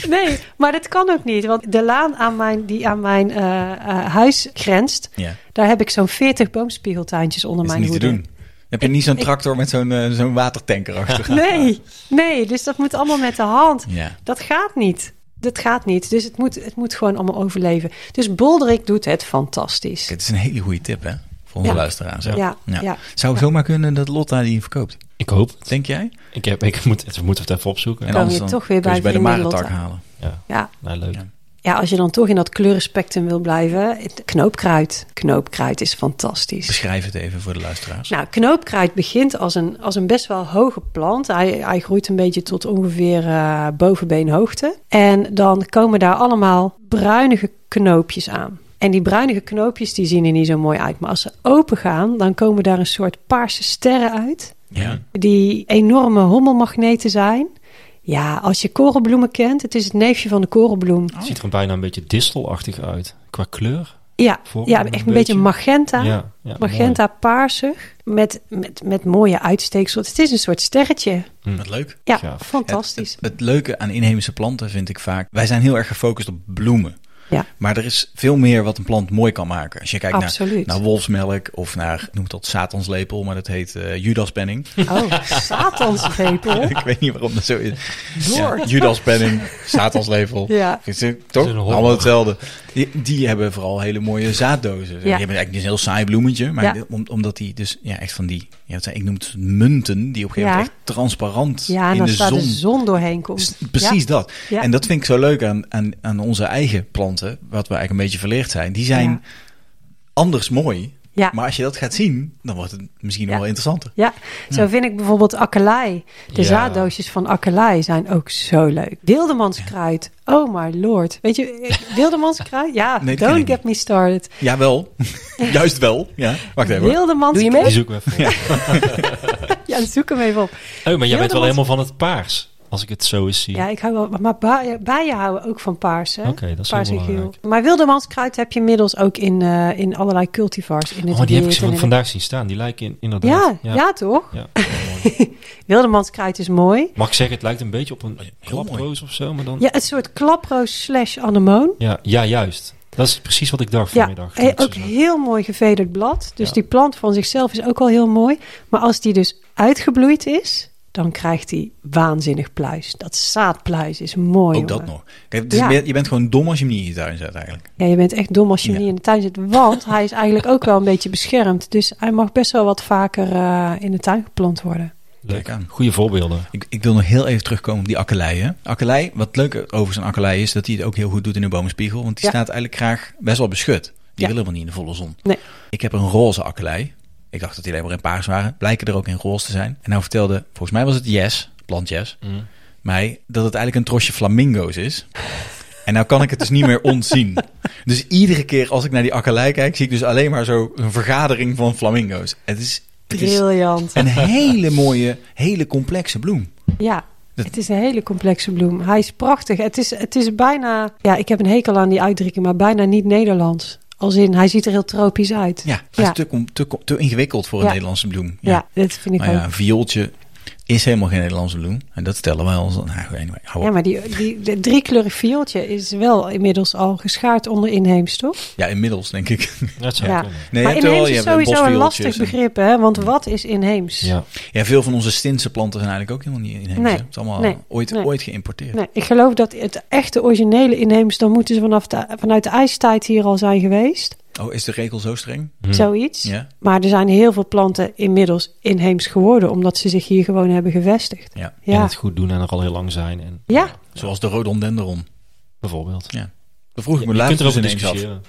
Nee, maar dat kan ook niet. Want de laan aan mijn, die aan mijn eh, eh, huis grenst,
Ja,
daar heb ik zo'n 40 boomspiegeltuintjes onder
dat is
mijn
niet
hoede.
te doen. Dan heb je niet zo'n tractor met zo'n eh, zo'n watertanker achter.
Nee, nee, dus dat moet allemaal met de hand.
Ja.
Dat gaat niet. Dat gaat niet. Dus het moet, het moet gewoon allemaal overleven. Dus Boldrik doet het fantastisch.
Het is een hele goede tip, hè? Voor onze
Ja.
luisteraars. hè?
Ja, ja.
Zou het zomaar kunnen dat Lotta die verkoopt?
Ik hoop het.
Denk jij?
Ik, heb, ik moet, we moeten het even opzoeken.
Komen we toch weer
kun je
bij
ze bij de
vrienden
Marentak
Lotta.
halen.
Ja,
Ja.
nou, leuk.
Ja.
ja, als je dan toch in dat kleurenspectrum wil blijven. het- Knoopkruid. Knoopkruid is fantastisch.
Beschrijf het even voor de luisteraars.
Nou, knoopkruid begint als een, als een best wel hoge plant. Hij, hij groeit een beetje tot ongeveer eh, bovenbeenhoogte. En dan komen daar allemaal bruinige knoopjes aan. En die bruinige knoopjes die zien er niet zo mooi uit. Maar als ze open gaan, dan komen daar een soort paarse sterren uit.
ja.
Die enorme hommelmagneten zijn. Ja, als je korenbloemen kent, het is het neefje van de korenbloem.
Het ziet er bijna een beetje distelachtig uit. Qua kleur.
Ja,
Vorm
ja
een
echt een beetje,
beetje.
magenta.
Ja, ja,
magenta paarsig. Met, met, met mooie uitsteeksels. Het is een soort sterretje.
Wat leuk.
Ja,
Gaaf.
fantastisch.
Het, het, het leuke aan inheemse planten vind ik vaak... Wij zijn heel erg gefocust op bloemen.
Ja.
Maar er is veel meer wat een plant mooi kan maken. Als je kijkt naar,
Absoluut.
naar wolfsmelk of naar, noem het dat, satanslepel, maar dat heet eh, Judaspenning.
Oh, satanslepel.
ik weet niet waarom dat zo is.
Door.
Ja, Judaspenning, satanslepel.
Ja.
Is het, toch?
Het is een horror.
Allemaal hetzelfde. Die, die hebben vooral hele mooie zaaddozen. Die hebben eigenlijk dus een heel saai bloemetje, maar
Ja.
dit- om- omdat die dus ja, echt van die, ja, wat zijn- ik noem het munten, die op een gegeven moment
Ja.
echt transparant
Ja, en dus
in
als
de
daar
zon
de zon doorheen komt.
S- Precies
Ja.
dat.
Ja.
En dat vind ik zo leuk aan, aan, aan onze eigen planten, wat we eigenlijk een beetje verleerd zijn. Die zijn
Ja.
anders mooi.
Ja.
Maar als je dat gaat zien, dan wordt het misschien nog
Ja.
wel interessanter.
Ja,
Hm.
zo vind ik bijvoorbeeld akkelei. De
Ja.
zaaddoosjes van akkelei zijn ook zo leuk. Wildemanskruid. Oh my lord. Weet je, eh, wildemanskruid? Ja,
Nee, dat ken ik
don't get me started.
Jawel. Juist wel. Ja. Wacht even. hoor.
Wildemanskruid.
Doe je mee?
Die zoeken we even.
Ja, zoek hem even op.
Oh, maar jij bent wel
Wildermans-
helemaal van het paars. Als ik het zo eens zie.
Ja, ik hou wel, maar bijen, bijen houden ook van paars, hè?
Oké, dat is
paars
heel
en
belangrijk.
geel. Maar wildemanskruid heb je inmiddels ook in, eh, in allerlei cultivars. In het
Oh, die heb
wit
ik ze
en
van-
in het-
vandaag zien staan. Die lijken in,
Ja,
inderdaad.
ja.
ja.
toch?
Ja, heel mooi.
Wildemanskruid is mooi.
Mag ik zeggen, het lijkt een beetje op een
Oh
klaproos of zo, maar dan...
Ja, een soort klaproos slash anemoon.
Ja, ja, juist. Dat is precies wat ik dacht
Ja,
vanmiddag.
he- ook heel mooi gevederd blad. Dus
Ja.
die plant van zichzelf is ook al heel mooi. Maar als die dus uitgebloeid is, dan krijgt die waanzinnig pluis. Dat zaadpluis is mooi.
Ook dat
jongen.
nog. Kijk, het is
Ja.
meer- je bent gewoon dom als je hem niet in je tuin zet eigenlijk.
Ja, je bent echt dom als je hem
Ja.
niet in de tuin zit. Want hij is eigenlijk ook wel een beetje beschermd. Dus hij mag best wel wat vaker eh, in de tuin geplant worden.
Leuk.
Kijk aan.
Goede voorbeelden.
Ik, ik wil nog heel even terugkomen op die akkelei. Hè? Akkelei, wat leuk over zo'n akkelei is, dat hij het ook heel goed doet in de bomenspiegel. Want die
Ja.
staat eigenlijk graag best wel beschut. Die
Ja.
willen wel niet in de volle zon.
Nee.
Ik heb een roze akkelei. Ik dacht dat die alleen maar in paars waren. Blijken er ook in roze te zijn. En nou vertelde, volgens mij was het Yes, plant Yes, mij dat het eigenlijk een trosje flamingo's is. En nou kan ik het dus niet meer ontzien. Dus iedere keer als ik naar die akkelei kijk, zie ik dus alleen maar zo een vergadering van flamingo's. Het is, het is
Briljant.
een hele mooie, hele complexe bloem.
Ja.
Dat-
Het is een hele complexe bloem. Hij is prachtig. Het is, het is bijna... Ja, ik heb een hekel aan die uitdrukking, maar bijna niet Nederlands. Als in, hij ziet er heel tropisch uit.
Ja, het is te, com- te, com- te ingewikkeld voor een
Ja.
Nederlandse bloem.
Ja, dat vind ik
Maar ja,
ook.
een viooltje, is helemaal geen Nederlandse bloem. En dat stellen wij ons. Nou, anyway, hou
Ja,
op.
maar die, die, dat driekleurig viooltje is wel inmiddels al geschaard onder inheems, toch?
Ja, inmiddels denk ik.
Dat zou
Ja.
kunnen.
Nee, je
maar
hebt wel-
inheems
je
is
hebt
sowieso een
bosviooltjes
lastig
en-
begrip, hè? Want wat is inheems?
Ja.
Ja, veel van onze Stinse planten zijn eigenlijk ook helemaal niet inheems.
Nee,
hè? Het is allemaal
nee,
ooit,
nee.
ooit geïmporteerd.
Nee, ik geloof dat het echte originele inheems, dan moeten ze vanaf de, vanuit de ijstijd hier al zijn geweest.
Oh, is de regel zo streng?
Hm.
Zoiets.
Hmm. Ja.
Maar er zijn heel veel planten inmiddels inheems geworden, omdat ze zich hier gewoon hebben gevestigd.
ja.
En
Ja,
het goed doen en er al heel lang zijn. En,
ja.
Zoals de rhododendron.
Bijvoorbeeld.
Dat vroeg ik me
Je kunt
later dus
erover
ineens af.
discussiëren.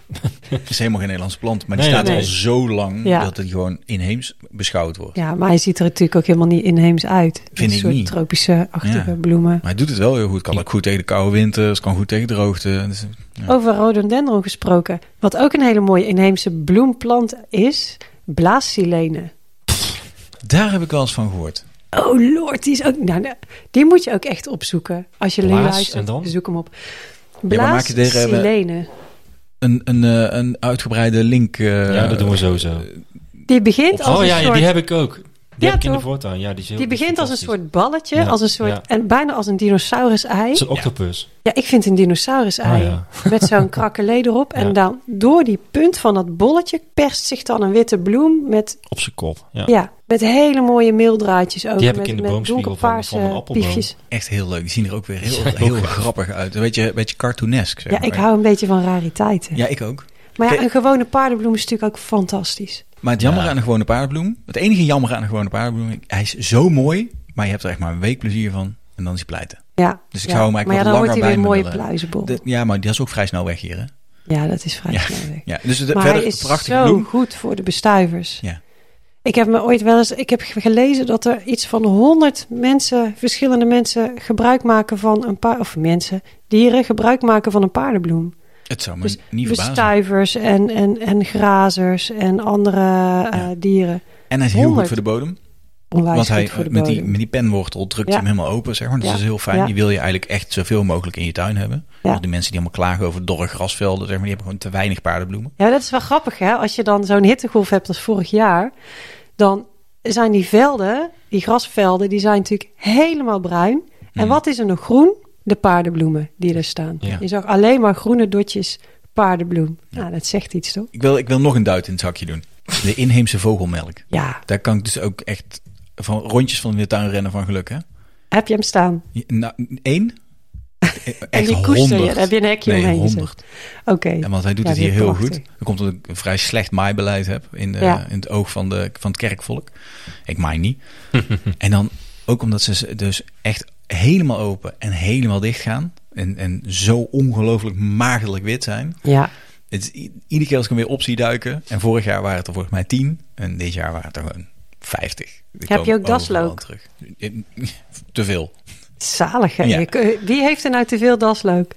Het is helemaal geen Nederlandse plant, maar die
Nee,
staat
nee.
al zo lang
Ja.
dat het gewoon inheems beschouwd wordt.
ja maar hij ziet er natuurlijk ook helemaal niet inheems uit.
Vind
een
ik
soort
niet.
tropische achtige
Ja.
bloemen.
Maar hij doet het wel heel goed. Kan ook goed tegen de koude winters, kan goed tegen droogte. Dus, Ja.
Over rhododendron gesproken. Wat ook een hele mooie inheemse bloemplant is, blaassilene.
daar heb ik wel eens van gehoord.
Oh lord, die is ook... Nou, nou, die moet je ook echt opzoeken. Als je
Blaas,
luistert,
en dan?
zoek hem op.
maar maak je deze-
eh,
Blaassilene.
Een, een, eh, een uitgebreide link. eh,
ja, dat doen we sowieso.
Die begint als
Oh
een
ja, ja,
soort...
die heb ik ook. Die
Ja,
heb ik in de
toch?
voortuin. Ja, die, is heel-
Die
die is
begint als een
fantastisch.
soort balletje,
Ja,
als een soort,
ja.
en bijna als een dinosaurus-ei.
Het is een octopus.
Ja, ik vind een dinosaurus-ei
Oh, ja.
met zo'n krakelé erop. En
Ja.
dan door die punt van dat bolletje perst zich dan een witte bloem met,
Op zijn kop. Ja.
ja. met hele mooie meeldraadjes over.
Die heb ik
met,
in de
met
boomspiegel van-
donkerpaarse
van een appelboom.
piefjes.
Echt heel leuk. Die zien er ook weer heel,
Ja,
heel
ook.
grappig uit. Een beetje, een beetje cartoonesk. Zeg
Ja,
maar.
ik hou een beetje van rariteiten.
Ja, ik ook.
Maar ja,
Oké.
een gewone paardenbloem is natuurlijk ook fantastisch.
Maar het jammer
Ja.
aan een gewone paardenbloem. Het enige jammer aan een gewone paardenbloem. Hij is zo mooi, maar je hebt er echt maar een week plezier van. En dan is hij pleiten.
Ja,
Dus ik
ja.
zou hem eigenlijk
maar ja,
wat
dan wordt
langer
hij
bij
weer een
me
mooie
willen.
pluizenbol.
De- ja, maar die is ook vrij snel weg hier. Hè?
Ja, dat is vrij
Ja.
snel weg.
Ja, dus de,
Maar
verder
hij is
een prachtige
zo
bloem.
goed voor de bestuivers.
Ja.
Ik heb me ooit wel eens, ik heb gelezen dat er iets van 100 mensen, verschillende mensen gebruik maken van een paar, of mensen, dieren gebruik maken van een paardenbloem.
Het zou me
Dus
niet verbazen.
Bestuivers en, en, en grazers en andere eh, dieren.
En hij is heel goed
honderd.
voor de bodem.
Onwijs
Want hij
goed voor de
met die,
bodem.
met die penwortel drukt
Ja.
hij hem helemaal open, zeg maar. Dus
Ja.
dat is heel fijn.
Ja.
Die wil je eigenlijk echt zoveel mogelijk in je tuin hebben.
Ja.
Want die mensen die allemaal klagen over dorre grasvelden, zeg maar, die hebben gewoon te weinig paardenbloemen.
Ja, dat is wel grappig hè. Als je dan zo'n hittegolf hebt als vorig jaar, dan zijn die velden, die grasvelden, die zijn natuurlijk helemaal bruin. En
Mhm.
wat is er nog groen? De paardenbloemen die er staan.
Ja.
Je zag alleen maar groene dotjes paardenbloem. Nou, dat zegt iets toch?
Ik wil, ik wil nog een duit in het zakje doen. De inheemse vogelmelk.
Ja.
Daar kan ik dus ook echt van rondjes van in de tuin rennen van geluk, hè?
Heb je hem staan?
Je- Nou, één? Echt
en die koester je.
honderd.
Daar heb je een hekje
Nee,
omheen gezet.
honderd.
Oké.
En want hij doet
Ja,
het hier
weer
heel
prachtig.
goed. Dat komt omdat ik een vrij slecht maaibeleid heb in, de,
Ja.
in het oog van, de, van het kerkvolk. Ik maai niet. en dan ook omdat ze ze dus echt helemaal open en helemaal dicht gaan. En, en zo ongelooflijk maagdelijk wit zijn.
Ja.
Het is i- iedere keer als ik hem weer op zie duiken. En vorig jaar waren het er volgens mij tien. En dit jaar waren het er gewoon vijftig.
Heb je ook daslook?
Terug. Te veel.
Zalig hè.
Ja.
Je kun- Wie heeft er nou te veel daslook?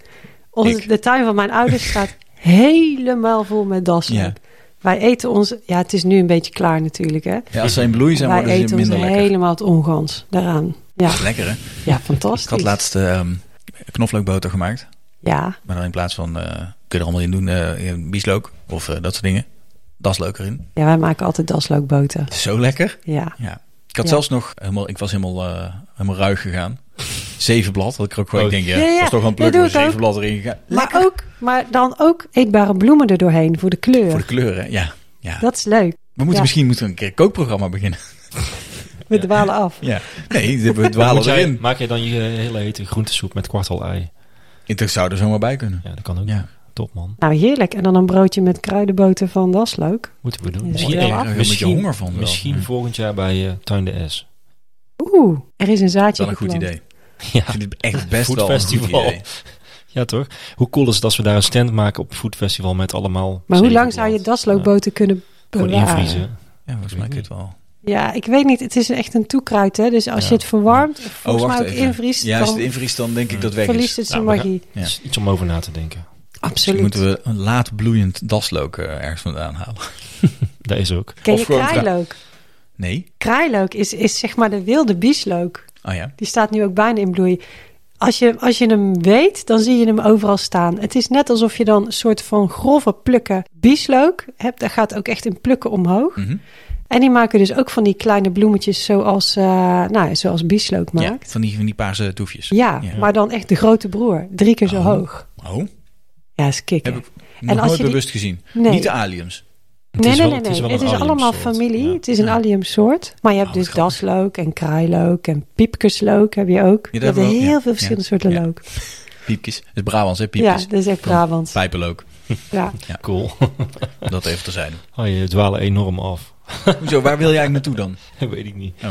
Onze,
Ik.
de tuin van mijn ouders staat helemaal vol met daslook.
Ja.
Wij eten ons... Ja, het is nu een beetje klaar natuurlijk hè.
Ja, als ze in bloei zijn,
Wij
worden ze
eten ons
minder lekker.
helemaal het ongans daaraan. Ja,
Lekker, hè?
ja
Ik
fantastisch.
had laatst ehm knoflookboter gemaakt.
Ja,
Maar dan in plaats van, eh, kun je er allemaal in doen, eh, bieslook of eh, dat soort dingen. Dat is leuk erin.
ja, wij maken altijd daslookboter.
Zo lekker.
Ja.
Ja. Ik had
Ja.
zelfs nog, helemaal, ik was helemaal, eh, helemaal ruig gegaan. Zeven blad, had ik er ook gewoon,
Oh.
ik denk, ja,
Ja, ja,
was toch wel een
dat
pluk,
doe
maar
ik
zeven
ook.
blad erin gegaan.
Maar, ook, maar dan ook eetbare bloemen er doorheen voor de kleur.
Voor de kleuren, ja. ja.
Dat is leuk.
we moeten
ja.
misschien moeten we een keer een kookprogramma beginnen.
We dwalen af.
Ja. Nee, we
Moet
dwalen
jij-
erin.
Maak jij dan je hele hete groentesoep met kwartel-ei?
Ik zou er zomaar bij kunnen.
Ja, dat kan ook.
Ja.
Top, man.
Nou, heerlijk. En dan een broodje met kruidenboter van daslook.
Moeten we doen.
Ja,
misschien
wel
eh,
af.
Daar
misschien,
word je honger van wel.
misschien
Ja.
volgend jaar bij eh, Tuin de S.
Oeh, er is een zaadje
Wel een goed
geplant.
idee.
Ja.
Ik vind het echt best
Food
wel een goed
festival.
idee.
Ja, toch? Hoe cool is het als we daar een stand maken op het Food Festival met allemaal...
Maar hoe lang
zevenblad?
zou je daslookboter kunnen
Ja, Gewoon
bewaren?
invriezen.
Ja, volgens mij kun je het wel.
Ja, ik weet niet. Het is echt een toekruid, hè. Dus als
Ja.
je het verwarmt, of volgens
oh,
mij
wacht
ook
even.
invriest,
Ja, als
dan
het invriest, dan denk ik dat het weg is.
verliest het zijn
Nou, we gaan-
magie.
Ja.
Is Iets om over na te denken.
Absoluut.
Dus Moeten we een laat bloeiend daslook eh, ergens vandaan halen?
Dat is ook.
Ken
of
je
gewoon vra-
kraailook?
Nee?
Kraailook is, is zeg maar de wilde bieslook.
Oh ja.
Die staat nu ook bijna in bloei. Als je, als je hem weet, dan zie je hem overal staan. Het is net alsof je dan een soort van grove plukken bieslook hebt. Daar gaat ook echt een plukken omhoog.
Mhm.
En die maken dus ook van die kleine bloemetjes zoals, eh nou, zoals bieslook
Ja,
maakt.
van die, van die paarse toefjes.
Ja,
Ja.
maar dan echt de grote broer. Drie keer zo
Oh.
hoog.
Oh,
Ja, is kicken.
heb ik nog
als
nooit
je die-
bewust gezien.
Nee.
Niet de aliens.
Het
nee,
is
nee,
wel-
nee, nee.
het is wel
Het
een
is allemaal
alliumsoort.
familie.
Ja.
Het is een
Ja.
alliumsoort. Maar je hebt
Oh,
dus
wat grappig.
daslook en kraailook en piepkerslook heb je ook.
Ja,
je hebt
dat hebben we ook,
heel
ja.
veel verschillende
Ja.
soorten
Ja.
look.
Piepjes. Het is Brabants, hè?
Ja,
Piepjes.
dat is echt
Van
Brabant.
Pijpenlook.
Ja.
Cool.
Dat even te zijn.
Oh, je dwalen enorm af.
Hoezo, waar wil jij eigenlijk naartoe dan?
Weet ik niet.
Oh.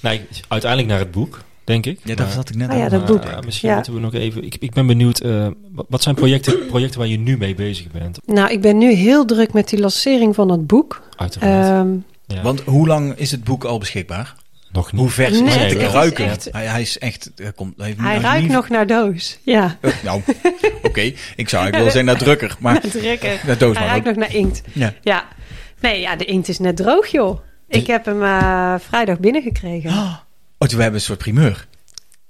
Nee, uiteindelijk naar het boek, denk ik.
Ja,
Maar-
dat zat ik net
Ah, ja,
aan.
dat
Maar,
boek.
eh, misschien
Ja.
moeten we nog even. Ik, ik ben benieuwd. eh, wat- wat zijn projecten, projecten waar je nu mee bezig bent?
Nou, ik ben nu heel druk met die lancering van het boek.
Uiteraard.
Ehm,
Ja.
Want hoe lang is het boek al beschikbaar?
nog niet.
Hoe ver is
Nee,
het?
het
te
is
ruiken?
echt-
Hij, hij is echt... Hij, komt, hij, heeft-
hij
hij
ruikt
niet-
nog naar doos. Ja,
Eh, Nou, oké. Ik zou eigenlijk willen zeggen naar drukker. Maar
drukker.
naar doos
Hij
maar ook.
ruikt nog naar inkt.
Ja.
Ja. Nee, ja, de inkt is net droog, joh. Ik heb hem eh, vrijdag binnengekregen.
Oh, we hebben een soort primeur.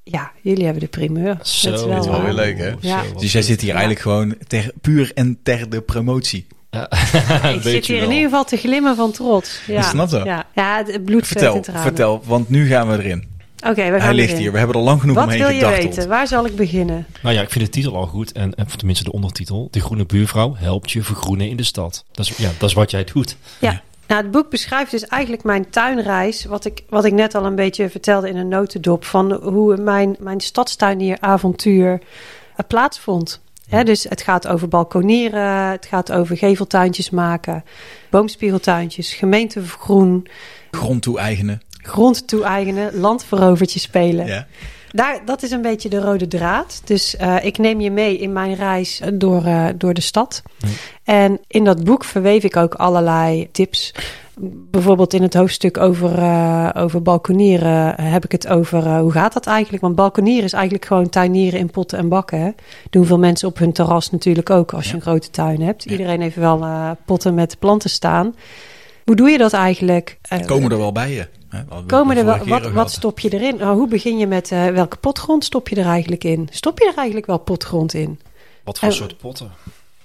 Ja, jullie hebben de primeur.
Zo,
Dat is
dit
wel,
is
wel
waar.
weer leuk, hè?
Ja.
Zo, wat
Dus jij
goed.
zit hier eigenlijk gewoon ter, puur en ter de promotie.
Ja,
Ik
weet
zit
je
hier in
wel.
ieder geval te glimmen van trots. Ja.
Ik snap dat.
Ja, ja het bloed zweet
Vertel,
en tranen.
vertel. Want nu gaan we erin.
Oké, we gaan
Hij ligt
erin.
hier. We hebben er al lang genoeg
Wat
omheen
wil je
gedacht.
weten? Waar zal ik beginnen?
Nou ja, ik vind de titel al goed. En, en tenminste de ondertitel. De groene buurvrouw helpt je vergroenen in de stad. Dat is, ja, dat is wat jij doet.
Ja. Nou, het boek beschrijft dus eigenlijk mijn tuinreis. Wat ik, wat ik net al een beetje vertelde in een notendop. Van hoe mijn, mijn stadstuinieravontuur eh, plaatsvond. Hè, dus het gaat over balkonieren. Het gaat over geveltuintjes maken. Boomspiegeltuintjes. Gemeentegroen.
Grond toe-eigenen.
Grond toe-eigenen. Landverovertje spelen.
Ja.
Daar, dat is een beetje de rode draad. Dus eh, ik neem je mee in mijn reis eh, door, eh, door de stad. En in dat boek verweef ik ook allerlei tips. Bijvoorbeeld in het hoofdstuk over, eh, over balkonieren heb ik het over eh, hoe gaat dat eigenlijk? Want balkonieren is eigenlijk gewoon tuinieren in potten en bakken. Hè? Doen veel mensen op hun terras natuurlijk ook als je
Ja.
een grote tuin hebt. Iedereen heeft wel eh, potten met planten staan. Hoe doe je dat eigenlijk? Eh,
Komen er wel bij je? Hè, wat we
Komen
de
er wel,
vorige keer
wat,
ook
wat
hadden.
stop je erin? Nou, hoe begin je met eh, welke potgrond stop je er eigenlijk in? Stop je er eigenlijk wel potgrond in?
Wat voor
En-
soort potten?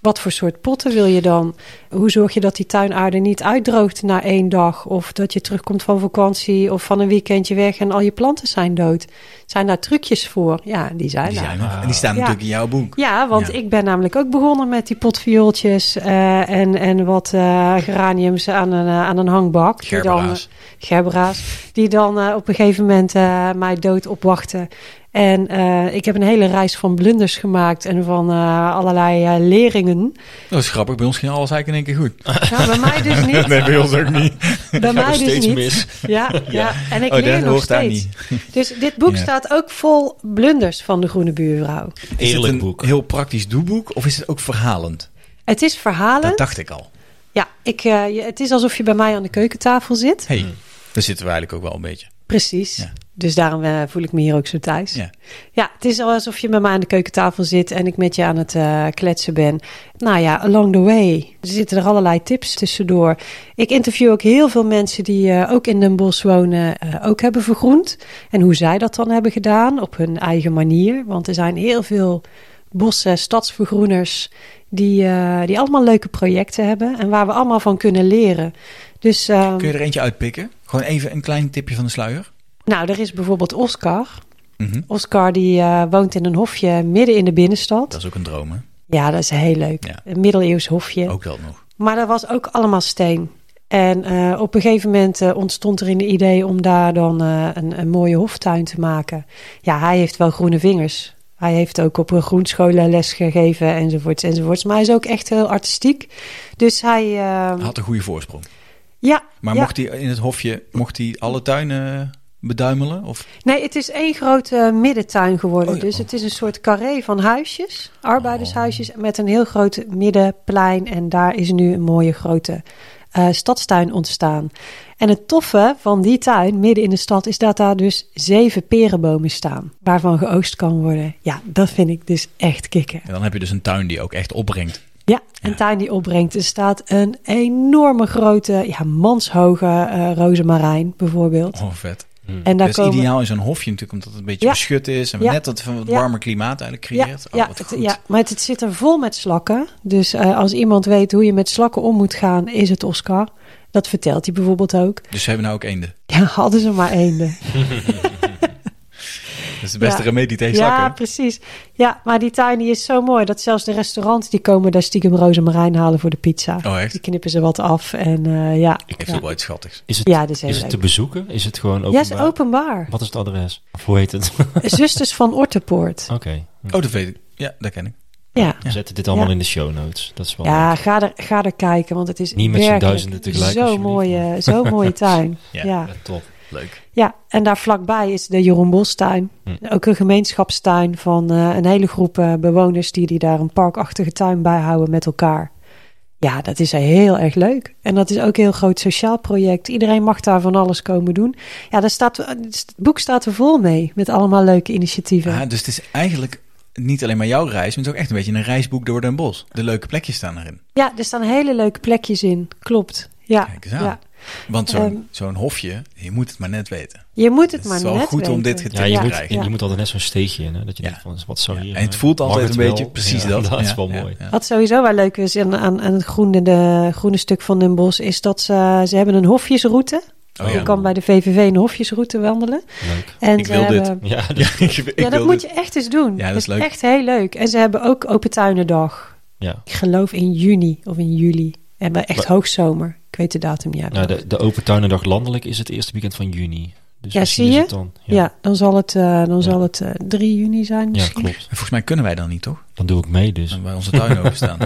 Wat voor soort potten wil je dan? Hoe zorg je dat die tuinaarde niet uitdroogt na één dag? Of dat je terugkomt van vakantie of van een weekendje weg en al je planten zijn dood? Zijn daar trucjes voor? Ja, die zijn
Die
daar.
zijn er. En die staan
Ja.
natuurlijk in jouw boek.
Ja, want
Ja.
ik ben namelijk ook begonnen met die potviooltjes eh, en, en wat eh, geraniums aan een, eh, aan een hangbak. Die dan,
Gerbera's.
eh, gerbera's. Die dan eh, op een gegeven moment eh, mij dood opwachten. En eh, ik heb een hele reis van blunders gemaakt en van eh, allerlei eh, leringen.
Dat is grappig. Bij ons ging alles eigenlijk in één keer goed.
Nou, bij mij dus niet.
bij ons ook niet.
bij mij
nog
dus
steeds
niet.
mis.
Ja, ja. en ik
Oh, dat
leer nog
hoort daar
steeds. Dus dit boek
Ja.
staat ook vol blunders van de Groene Buurvrouw.
Is het
Eerlijk
een
boek.
heel praktisch doeboek of is het ook verhalend?
Het is verhalen.
Dat dacht ik al.
Ja, ik, eh, je- het is alsof je bij mij aan de keukentafel zit.
Hey,
Hmm.
daar zitten we eigenlijk ook wel een beetje.
Precies.
Ja.
Dus daarom eh, voel ik me hier ook zo thuis.
Ja.
Ja, het is alsof je met mij aan de keukentafel zit en ik met je aan het eh, kletsen ben. Nou ja, along the way zitten er allerlei tips tussendoor. Ik interview ook heel veel mensen die eh, ook in Den Bosch wonen, eh, ook hebben vergroend. En hoe zij dat dan hebben gedaan op hun eigen manier. Want er zijn heel veel bossen, stadsvergroeners, die, eh, die allemaal leuke projecten hebben. En waar we allemaal van kunnen leren. Dus, ehm,
Kun je er eentje uitpikken? Gewoon even een klein tipje van de sluier.
nou, er is bijvoorbeeld Oscar.
Mhm.
Oscar die eh, woont in een hofje midden in de binnenstad.
Dat is ook een droom, hè?
Ja, dat is heel leuk.
Ja.
Een middeleeuws hofje.
Ook dat nog.
Maar dat was ook allemaal steen. En eh, op een gegeven moment eh, ontstond er een idee om daar dan eh, een, een mooie hoftuin te maken. Ja, hij heeft wel groene vingers. Hij heeft ook op een groenscholen les gegeven enzovoorts enzovoorts. Maar hij is ook echt heel artistiek. Dus hij... eh,
Had een goede voorsprong.
ja,
Maar
ja.
mocht hij in het hofje mocht hij alle tuinen beduimelen? Of
Nee, het is één grote middentuin geworden.
Oh ja.
Dus het is een soort carré van huisjes, arbeidershuisjes,
Oh.
met een heel groot middenplein. En daar is nu een mooie grote eh, stadstuin ontstaan. En het toffe van die tuin, midden in de stad, is dat daar dus zeven perenbomen staan, waarvan geoogst kan worden. Ja, dat vind ik dus echt kicken.
en dan heb je dus een tuin die ook echt opbrengt.
Ja, een tuin die opbrengt. Er staat een enorme grote, ja, manshoge eh rozemarijn bijvoorbeeld.
Oh, vet.
En daar
dat is
komen...
ideaal in zo'n hofje natuurlijk, omdat het een beetje
Ja.
beschut is. En
Ja.
net dat van het
Ja.
warme klimaat eigenlijk creëert. Oh,
ja,
wat
het-
goed.
ja, maar het, het zit er vol met slakken. Dus eh, als iemand weet hoe je met slakken om moet gaan, is het Oscar. Dat vertelt hij bijvoorbeeld ook.
Dus ze hebben nou ook eenden.
Ja, hadden ze maar eenden.
Dat is de beste
Ja.
remedie tegen
Ja,
zakken.
precies. Ja, maar die tuin die is zo mooi dat zelfs de restaurants die komen daar stiekem rozemarijn halen voor de pizza.
Oh, echt?
Die knippen ze wat af en eh, ja.
Ik vind
ja.
het wel iets schattigs.
Is het,
Ja, dat is heel
is het
leuk.
te bezoeken? Is het gewoon
Ja,
openbaar?
het is openbaar.
Wat is het adres? Of hoe heet het? Oké.
Zusters van Ortepoort.
Oh, dat weet ik. Ja, dat ken ik.
Ja,
We zetten dit allemaal
Ja.
in de show notes. Dat is wel
ja ga, er, ga er kijken, want het is
Niet met z'n
werkelijk
duizenden tegelijk,
Zo'n
alsjeblieft.
mooie, zo'n mooie tuin.
Ja.
ja. Ja.
leuk. Ja, eh, top.
Leuk.
en daar vlakbij is de Jeroen Bostuin.
Hm.
Ook een gemeenschapstuin van eh, een hele groep eh, bewoners die, die daar een parkachtige tuin bijhouden met elkaar. Ja, dat is heel erg leuk. En dat is ook een heel groot sociaal project. Iedereen mag daar van alles komen doen. Ja, daar staat, eh, het boek staat er vol mee met allemaal leuke initiatieven.
Ah, dus het is eigenlijk niet alleen maar jouw reis, maar het is ook echt een beetje een reisboek door Den Bosch. De leuke plekjes staan erin.
Ja, er staan hele leuke plekjes in. Klopt. Ja.
Kijk eens aan.
ja.
Want zo'n
Ehm.
zo'n hofje, je moet het maar net weten.
Je moet het
Het
maar
is wel
net
goed om
weten.
dit getipt
Ja, je,
Ja.
Moet,
Ja.
je moet altijd net zo'n steegje in. Hè, dat je
Ja.
denkt van, wat zou
Ja,
hier...
en het
eh,
voelt
mag
altijd
het
een
wel?
beetje precies
Ja,
dat.
Dat is
Ja,
wel
ja,
mooi.
ja.
Wat sowieso wel leuk is aan, aan, aan het groene, de, groene stuk van Den Bosch... is dat ze, ze hebben een hofjesroute.
Oh
Je
ja.
kan bij de VVV een hofjesroute wandelen.
Leuk.
En
Ik
ze
wil dit.
hebben-
Ja, dat-
Ja, ik, ik
ja, dat
wil
moet
dit-
je echt eens doen.
Ja, dat is leuk.
echt heel leuk. En ze hebben ook Open Tuinendag.
ja.
Ik geloof in juni of in juli. En bij echt hoogzomer. Ik weet de datum niet. uit mijn
Nou, de, de Open Tuinendag Landelijk is het eerste weekend van juni. Dus
Ja,
misschien
zie
is
je?
het dan.
hoofd. ja. dan zal het, eh, dan zal het eh, 3 juni zijn
Ja,
misschien.
klopt.
Volgens mij kunnen wij dan niet, toch?
Dan doe ik mee dus.
Bij onze tuin openstaan.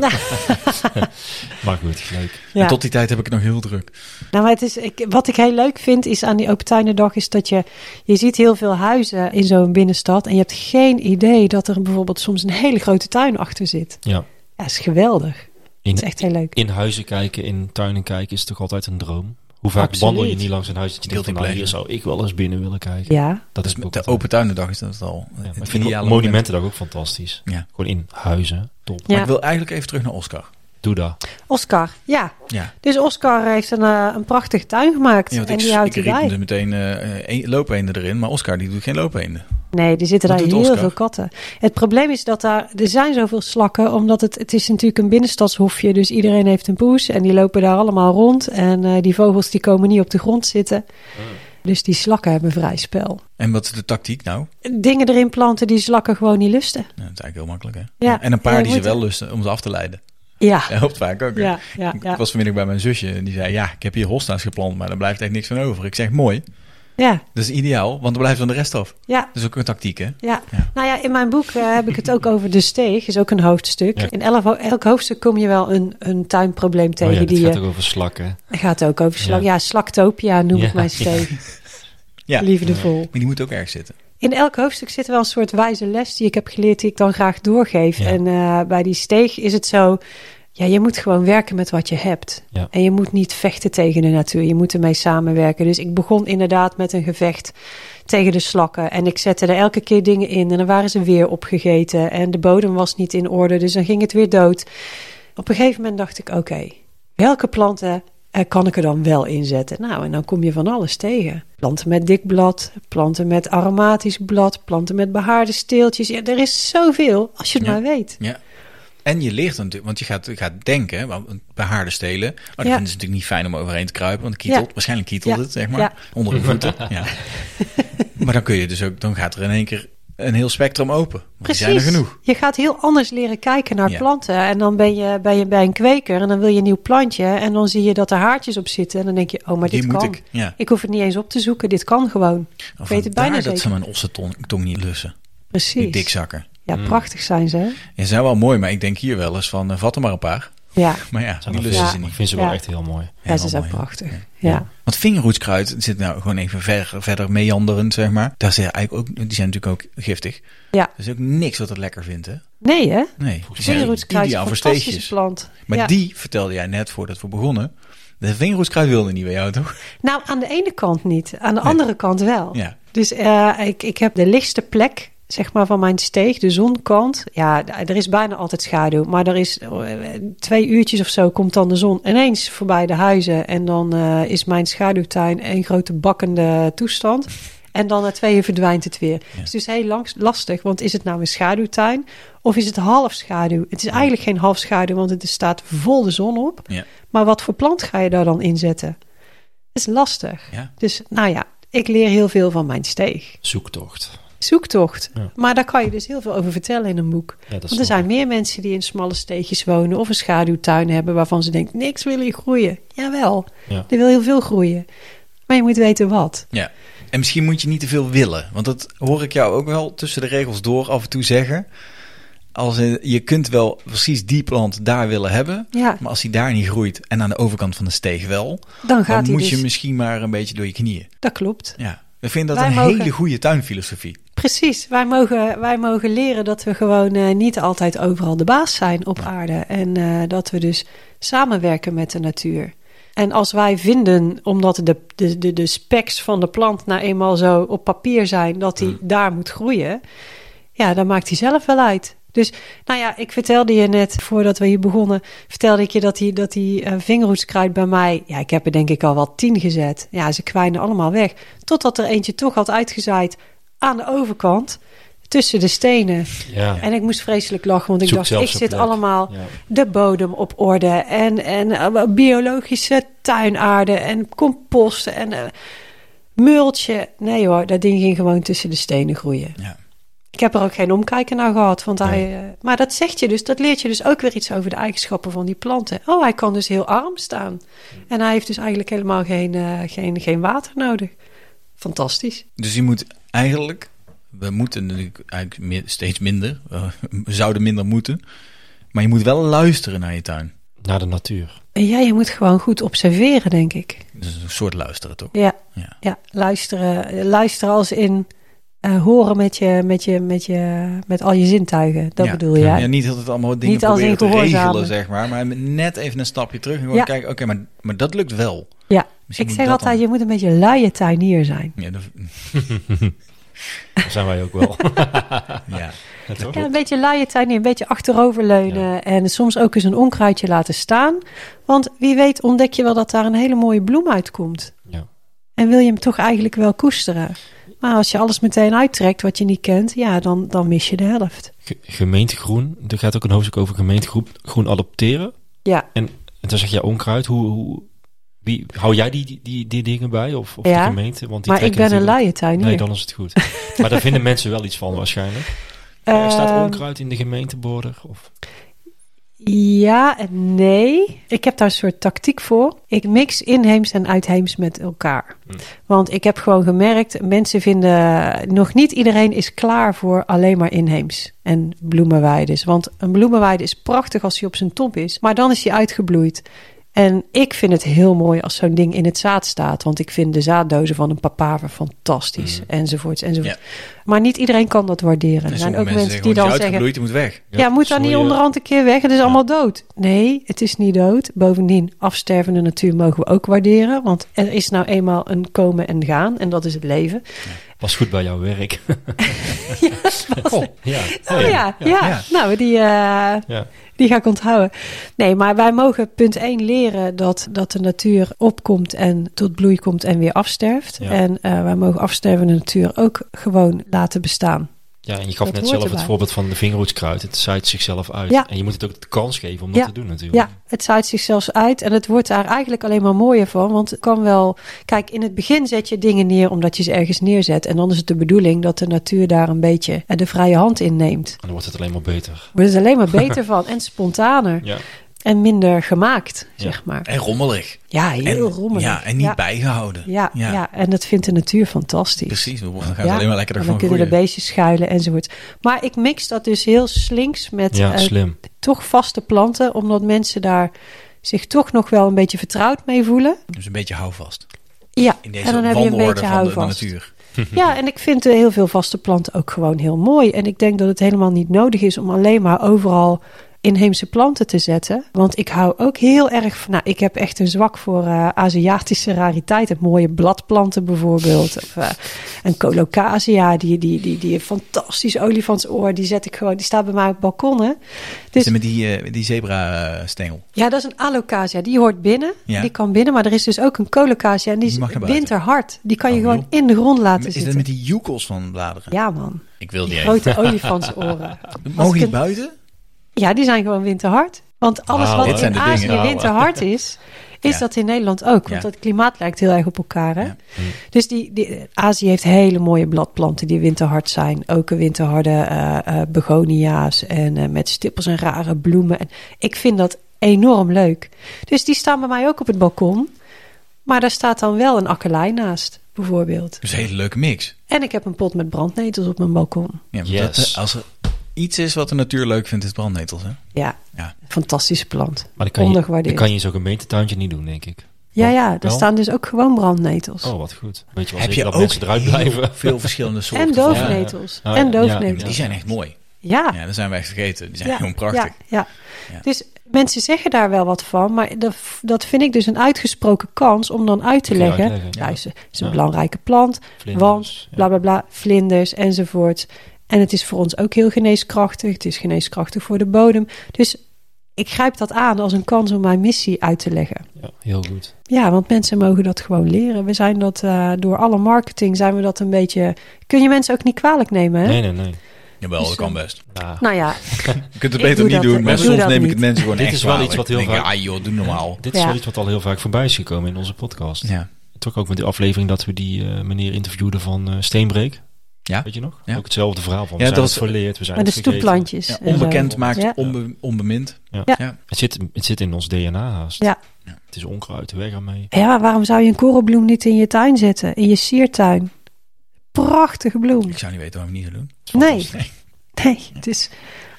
Maar goed, leuk.
Ja.
En tot die tijd heb ik het nog heel druk.
Nou, maar het is, ik, wat ik heel leuk vind is aan die Open Tuinendag is dat je, je ziet heel veel huizen in zo'n binnenstad en je hebt geen idee dat er bijvoorbeeld soms een hele grote tuin achter zit.
Ja.
Ja, dat is geweldig.
In,
Dat is echt heel leuk.
in huizen kijken, in tuinen kijken is toch altijd een droom? Hoe vaak
Absoluut.
wandel je niet langs een huis dat je denkt van, nou, hier
Guilty
zou ik wel eens binnen willen kijken.
Ja,
Dat is
Dus
ook
de
altijd-
open tuinendag is dat al.
Ja, maar
het
ik vind
ideale
ook Monumentendag ook fantastisch.
moment. Ja.
Gewoon in huizen. Top.
Maar
Ja.
ik wil eigenlijk even terug naar Oscar.
Doe dat.
Oscar. Ja,
Ja.
dus Oscar heeft een, eh, een prachtige tuin gemaakt
Ja, want
en
ik,
die houdt
ik
hij
riep
bij.
er meteen eh eh, loopeenden erin, maar Oscar die doet geen loopeenden.
Nee, er zitten
Wat
daar
doet
heel
Oscar?
veel katten. Het probleem is dat daar, er zijn zoveel slakken, omdat het, het is natuurlijk een binnenstadshofje, dus iedereen heeft een poes en die lopen daar allemaal rond en eh, die vogels die komen niet op de grond zitten. Dus die slakken hebben vrij spel.
En wat is de tactiek nou?
Dingen erin planten die slakken gewoon niet lusten.
Nou, dat is eigenlijk heel makkelijk hè.
Ja.
En een paar
Ja, je
die ze
moet-
wel lusten om ze af te leiden.
Ja,
Dat helpt vaak ook. hè.
ja, ja.
Ik
ja,
was vanmiddag bij mijn zusje en die zei, ja, ik heb hier hosna's geplant, maar daar blijft echt niks van over. Ik zeg, mooi,
ja,
dat is ideaal, want er blijft van de rest af.
ja.
Dat is ook een tactiek hè.
Ja.
Ja.
nou ja, in mijn boek eh, heb ik het ook over de steeg, is ook een hoofdstuk.
Ja.
In elf, elk hoofdstuk kom je wel een, een tuinprobleem tegen.
Oh ja, dit
die eh, je-
gaat ook over slakken.
gaat ook over slak.
Ja.
Ja, slaktopia noem
Ja.
ik mijn steeg.
Ja, maar
Liefdevol.
die moet ook erg zitten.
In elk hoofdstuk zit wel een soort wijze les die ik heb geleerd, die ik dan graag doorgeef.
Ja.
En eh, bij die steeg is het zo, ja, je moet gewoon werken met wat je hebt.
Ja.
En je moet niet vechten tegen de natuur, je moet ermee samenwerken. Dus ik begon inderdaad met een gevecht tegen de slakken. En ik zette er elke keer dingen in en dan waren ze weer opgegeten. En de bodem was niet in orde, dus dan ging het weer dood. Op een gegeven moment dacht ik, oké, welke planten eh, kan ik er dan wel in zetten? Nou, en dan kom je van alles tegen. Planten met dik blad, planten met aromatisch blad, planten met behaarde steeltjes. Ja, er is zoveel, als je het
Ja.
maar weet.
Ja. En je leert dan natuurlijk, want je gaat, je gaat denken, hè, want bij haarden stelen. Maar dat
Ja.
vinden ze natuurlijk niet fijn om overheen te kruipen, want het kietelt,
Ja.
waarschijnlijk kietelt
Ja.
het, zeg maar,
Ja.
onder de voeten. ja. maar dan kun je dus ook, dan gaat er in één keer een heel spectrum open. Want
Precies.
Die zijn er genoeg.
Je gaat heel anders leren kijken naar
Ja.
planten. En dan ben je, ben je bij een kweker en dan wil je een nieuw plantje. En dan zie je dat er haartjes op zitten. En dan denk je, oh, maar
Die
dit
moet
kan.
ik, ja.
hoef het niet eens op te zoeken, dit kan gewoon.
Of
weet het bijna
dat
zeker.
ze mijn ossetong tong niet lussen, die
Precies.
dikzakken.
Ja, prachtig zijn ze. hè?
Ja, ze zijn wel mooi, maar ik denk hier wel eens van, eh, vat er maar een paar.
Ja,
Maar ja,
Zijn
die
wel
lussen
veel.
ze
Ik
niet.
vind ze wel
Ja.
echt heel mooi.
ja, ze
wel
zijn
mooi.
prachtig.
Ja.
ja.
Want vingerroetskruid zit nou gewoon even verder, verder meanderend, zeg maar. Daar zijn eigenlijk ook, die zijn natuurlijk ook giftig.
Ja.
Er is ook niks wat het lekker vindt, hè?
Nee, hè?
Nee, die zijn
Vingerhoedskruid is een
ideaal voor
fantastische
steegjes.
plant.
Maar
Ja.
die vertelde jij net voordat we begonnen. De vingerhoedskruid wilde niet bij jou, toch?
Nou, aan de ene kant niet. Aan de
Nee.
andere kant wel.
Ja.
Dus eh, ik, ik heb de lichtste plek zeg maar, van mijn steeg, de zonkant. Ja, d- er is bijna altijd schaduw. Maar er is eh, twee uurtjes of zo komt dan de zon ineens voorbij de huizen. En dan eh, is mijn schaduwtuin een grote bakkende toestand. En dan na twee uur verdwijnt het weer. Het is dus heel langs, lastig, want is het nou een schaduwtuin of is het half schaduw? Het is eigenlijk geen half schaduw, want het staat vol de zon op.
Ja.
Maar wat voor plant ga je daar dan inzetten? Dat is lastig.
Ja.
Dus nou ja, ik leer heel veel van mijn steeg.
Zoektocht.
Zoektocht.
Ja.
Maar daar kan je dus heel veel over vertellen in een boek.
Ja, dat
Want
snap
er zijn
ik.
meer mensen die in smalle steegjes wonen of een schaduwtuin hebben waarvan ze denken, niks wil hier groeien. Jawel,
Ja.
er wil heel veel groeien. Maar je moet weten wat.
Ja. En misschien moet je niet te veel willen. Want dat hoor ik jou ook wel tussen de regels door af en toe zeggen. Als in, je kunt wel precies die plant daar willen hebben.
Ja,
Maar als die daar niet groeit en aan de overkant van de steeg wel,
dan gaat
dan
hij
moet
dus.
je misschien maar een beetje door je knieën.
Dat klopt.
Ja. Ik vind dat
Wij
een
mogen-
hele goede tuinfilosofie.
Precies. Wij mogen, wij mogen leren dat we gewoon eh, niet altijd overal de baas zijn op aarde. En eh, dat we dus samenwerken met de natuur. En als wij vinden, omdat de, de, de, de specs van de plant nou eenmaal zo op papier zijn, dat die daar moet groeien, ja, dan maakt hij zelf wel uit. Dus nou ja, ik vertelde je net, voordat we hier begonnen, vertelde ik je dat die, dat die eh, vingerhoedskruid bij mij, ja, ik heb er denk ik al wel tien gezet. Ja, ze kwijnen allemaal weg. Totdat er eentje toch had uitgezaaid aan de overkant, tussen de stenen.
Ja.
En ik moest vreselijk lachen, want ik
Zoek
dacht,
zelf
ik
zijn
zit
plek.
allemaal
Ja.
de bodem op orde en, en eh, biologische tuinaarde en compost en eh, multje. Nee hoor, dat ding ging gewoon tussen de stenen groeien.
Ja.
Ik heb er ook geen omkijken naar gehad. Want hij,
Nee.
eh, maar dat zegt je dus, dat leert je dus ook weer iets over de eigenschappen van die planten. Oh, hij kan dus heel arm
Mm.
staan. En hij heeft dus eigenlijk helemaal geen, eh, geen, geen water nodig. Fantastisch.
Dus je moet eigenlijk, we moeten natuurlijk eigenlijk meer- steeds minder, eh, we zouden minder moeten, maar je moet wel luisteren naar je tuin.
Naar de natuur.
En ja, je moet gewoon goed observeren, denk ik.
Dus een soort luisteren toch?
Ja,
Ja.
ja luisteren, luisteren als in eh, horen met, je, met, je, met, je, met al je zintuigen. Dat
Ja.
bedoel jij?
Ja, niet altijd allemaal dingen
Niet als
proberen
in
te
gehoorzamen.
regelen, zeg maar, maar net even een stapje terug en gewoon
Ja.
kijken, oké, maar, maar dat lukt wel.
Ja.
Misschien
Ik
moet
zeg
dat
altijd, je moet een beetje luie tuinier zijn.
Ja, dat,
Daar zijn wij ook wel.
ja.
Toch?
Ja, een beetje laaie tuinier, een beetje achteroverleunen en soms ook eens een onkruidje laten staan. Want wie weet ontdek je wel dat daar een hele mooie bloem uitkomt.
Ja.
En wil je hem toch eigenlijk wel koesteren. Maar als je alles meteen uittrekt wat je niet kent, ja, dan, dan mis je de helft.
Ge- Gemeentegroen. Er gaat ook een hoofdstuk over gemeentegroen groen adopteren.
Ja,
En, en dan zeg je onkruid. Hoe, hoe, wie, hou jij die, die- die, die dingen bij? Of, of
Ja,
de gemeente? Want die
maar ik
trekken
ben een
natuurlijk-
laaie tuinier.
Nee, dan is het goed. maar daar vinden mensen wel iets van waarschijnlijk. Er
Ehm,
staat onkruid in de gemeenteborder? Of...
Ja en nee. Ik heb daar een soort tactiek voor. Ik mix inheems en uitheems met elkaar. Want ik heb gewoon gemerkt, mensen vinden... Nog niet iedereen is klaar voor alleen maar inheems en bloemenweides. Want een bloemenweide is prachtig als hij op zijn top is. Maar dan is hij uitgebloeid. En ik vind het heel mooi als zo'n ding in het zaad staat. Want ik vind de zaaddozen van een papaver fantastisch. Enzovoorts, enzovoorts. Maar niet iedereen kan dat waarderen. Er
En
zijn
sommige
ook mensen, die
gewoon,
dan
"Het is
zeggen...
uitgebloeid, je moet weg.
Ja, moet daar niet
snoeien.
onderhand een keer weg. Het is allemaal dood. Nee, het is niet dood. Bovendien, afstervende natuur mogen we ook waarderen. Want er is nou eenmaal een komen en gaan. En dat is het leven.
Was goed bij jouw werk.
ja, dat was-
ja.
Oh ja, ja.
ja.
nou, die, eh,
Ja.
die ga ik onthouden. Nee, maar wij mogen punt 1 leren dat, dat de natuur opkomt en tot bloei komt en weer afsterft.
Ja.
En eh, wij mogen afstervende natuur ook gewoon laten bestaan.
Ja, en je
Dat
gaf net
hoort
zelf
erbij.
het voorbeeld van de vingerhoedskruid. Het zaait zichzelf uit.
Ja.
En je moet het ook de kans geven om dat
Ja.
te doen natuurlijk.
Ja, het zaait zich zelfs uit en het wordt daar eigenlijk alleen maar mooier van. Want het kan wel. Kijk, in het begin zet je dingen neer omdat je ze ergens neerzet. En dan is het de bedoeling dat de natuur daar een beetje eh, de vrije hand in neemt.
En dan wordt het alleen maar beter.
Wordt het alleen maar beter van en spontaner
Ja.
en minder gemaakt,
Ja.
zeg maar.
En rommelig.
Ja, heel
en,
rommelig.
Ja, en niet
ja.
bijgehouden.
Ja, ja. en dat vindt de natuur fantastisch.
Precies, dan gaat Dus het
Ja,
alleen maar lekker
en dan
ervan
kunnen de
groeien.
beestjes schuilen enzovoort. Maar ik mix dat dus heel slinks met
Ja,
eh,
slim.
toch vaste planten, omdat mensen daar zich toch nog wel een beetje vertrouwd mee voelen.
Dus een beetje houvast.
Ja,
In deze
en dan heb je een
wandelorde
beetje
van de, de
houvast.
natuur.
Ja, en ik vind eh, heel veel vaste planten ook gewoon heel mooi. En ik denk dat het helemaal niet nodig is om alleen maar overal inheemse planten te zetten. Want ik hou ook heel erg van. Nou, ik heb echt een zwak voor eh, Aziatische rariteiten. Mooie bladplanten bijvoorbeeld. Of, eh, een colocasia, die, die, die, die fantastisch olifantsoor. Die zet ik gewoon. Die staat bij mij op balkonnen.
Is
Dus
het met die, eh, die zebra-stengel.
ja, dat is een alocasia. Die hoort binnen.
Ja.
Die kan binnen. Maar er is dus ook een colocasia. En die
Die mag
is
naar buiten.
winterhard. Die kan je
Oh,
gewoon
joh.
in de grond laten
Is dat
zitten.
met die joekels van bladeren?
Ja, man.
Ik wil
Die
die even.
grote olifantsoren. Als ik
Mogen die
een-
buiten?
Ja, die zijn gewoon winterhard. Want alles
Wauw,
dit
wat
zijn
in
de
Azië
dingen. Oh, Wauw.
winterhard is, is
Ja.
dat in Nederland ook. Want
Ja.
het klimaat lijkt heel erg op elkaar. Hè?
Ja. Mm.
Dus die, die, Azië heeft hele mooie bladplanten die winterhard zijn. Ook een winterharde eh, eh, begonia's en eh, met stippels en rare bloemen. En ik vind dat enorm leuk. Dus die staan bij mij ook op het balkon. Maar daar staat dan wel een akkerlei naast, bijvoorbeeld.
Dus een hele leuke mix.
En ik heb een pot met brandnetels op mijn balkon.
Ja, want
Yes.
dat, eh, als er iets is wat de natuur leuk vindt, is het brandnetels. Hè?
Ja,
Ja.
fantastische plant.
Maar dan kan, je,
Ondergewaardeerd.
dan kan je zo'n gemeentetuintje niet doen, denk ik.
Ja, ja, er
Wel?
staan dus ook gewoon brandnetels.
Oh, wat goed. Weet je wel
Heb
zeker
je
dat
ook
mensen eruit blijven?
veel verschillende soorten.
en
van-
doofnetels.
Ja. Oh,
En
ja.
Die
doofnetels.
zijn echt mooi.
Ja.
Ja, dat zijn we echt vergeten. Die zijn
Ja,
gewoon prachtig.
Ja, ja.
Ja.
Dus mensen zeggen daar wel wat van, maar dat, dat vind ik dus een uitgesproken kans om dan uit te
Kun je
leggen.
uitleggen, ja.
Luister, het is een
Ja.
belangrijke plant,
Vlinders,
want
ja.
bla bla bla, vlinders enzovoort. En het is voor ons ook heel geneeskrachtig. Het is geneeskrachtig voor de bodem. Dus ik grijp dat aan als een kans om mijn missie uit te leggen.
Ja, heel goed.
Ja, want mensen mogen dat gewoon leren. We zijn dat eh, door alle marketing zijn we dat een beetje. Kun je mensen ook niet kwalijk nemen? Hè?
Nee, nee, nee.
Jawel, dat kan best.
Ja.
Nou ja,
Je kunt het
Dus, Ik
beter
doe
niet
dat- eh,
doen, maar
ik doe
soms
dat
neem ik
niet.
het mensen gewoon
Dit
echt
is wel
kwalijk.
iets wat heel
Ik denk,
vaak-
ah joh, doe normaal.
Dit is
Ja.
wel iets wat al heel vaak voorbij is gekomen in onze podcast.
Ja.
Toch ook met die aflevering dat we die eh, meneer interviewden van eh, Steenbreek.
Ja.
Weet je nog?
Ja.
Ook hetzelfde verhaal van. We
Ja,
zijn
dat
het
was-
verleerd, we zijn
met de
het vergeten.
stoepplantjes.
Ja,
en eh, zo.
onbekend maakt
Ja.
onbe- onbemind.
Ja.
Ja.
Het zit, het zit in ons DNA haast.
Ja.
Het is onkruid, weg ermee.
Ja, maar waarom zou je een korrelbloem niet in je tuin zetten? In je siertuin? Prachtige bloem.
Ik zou niet weten waarom we het niet zou doen.
Nee, nee. Het is,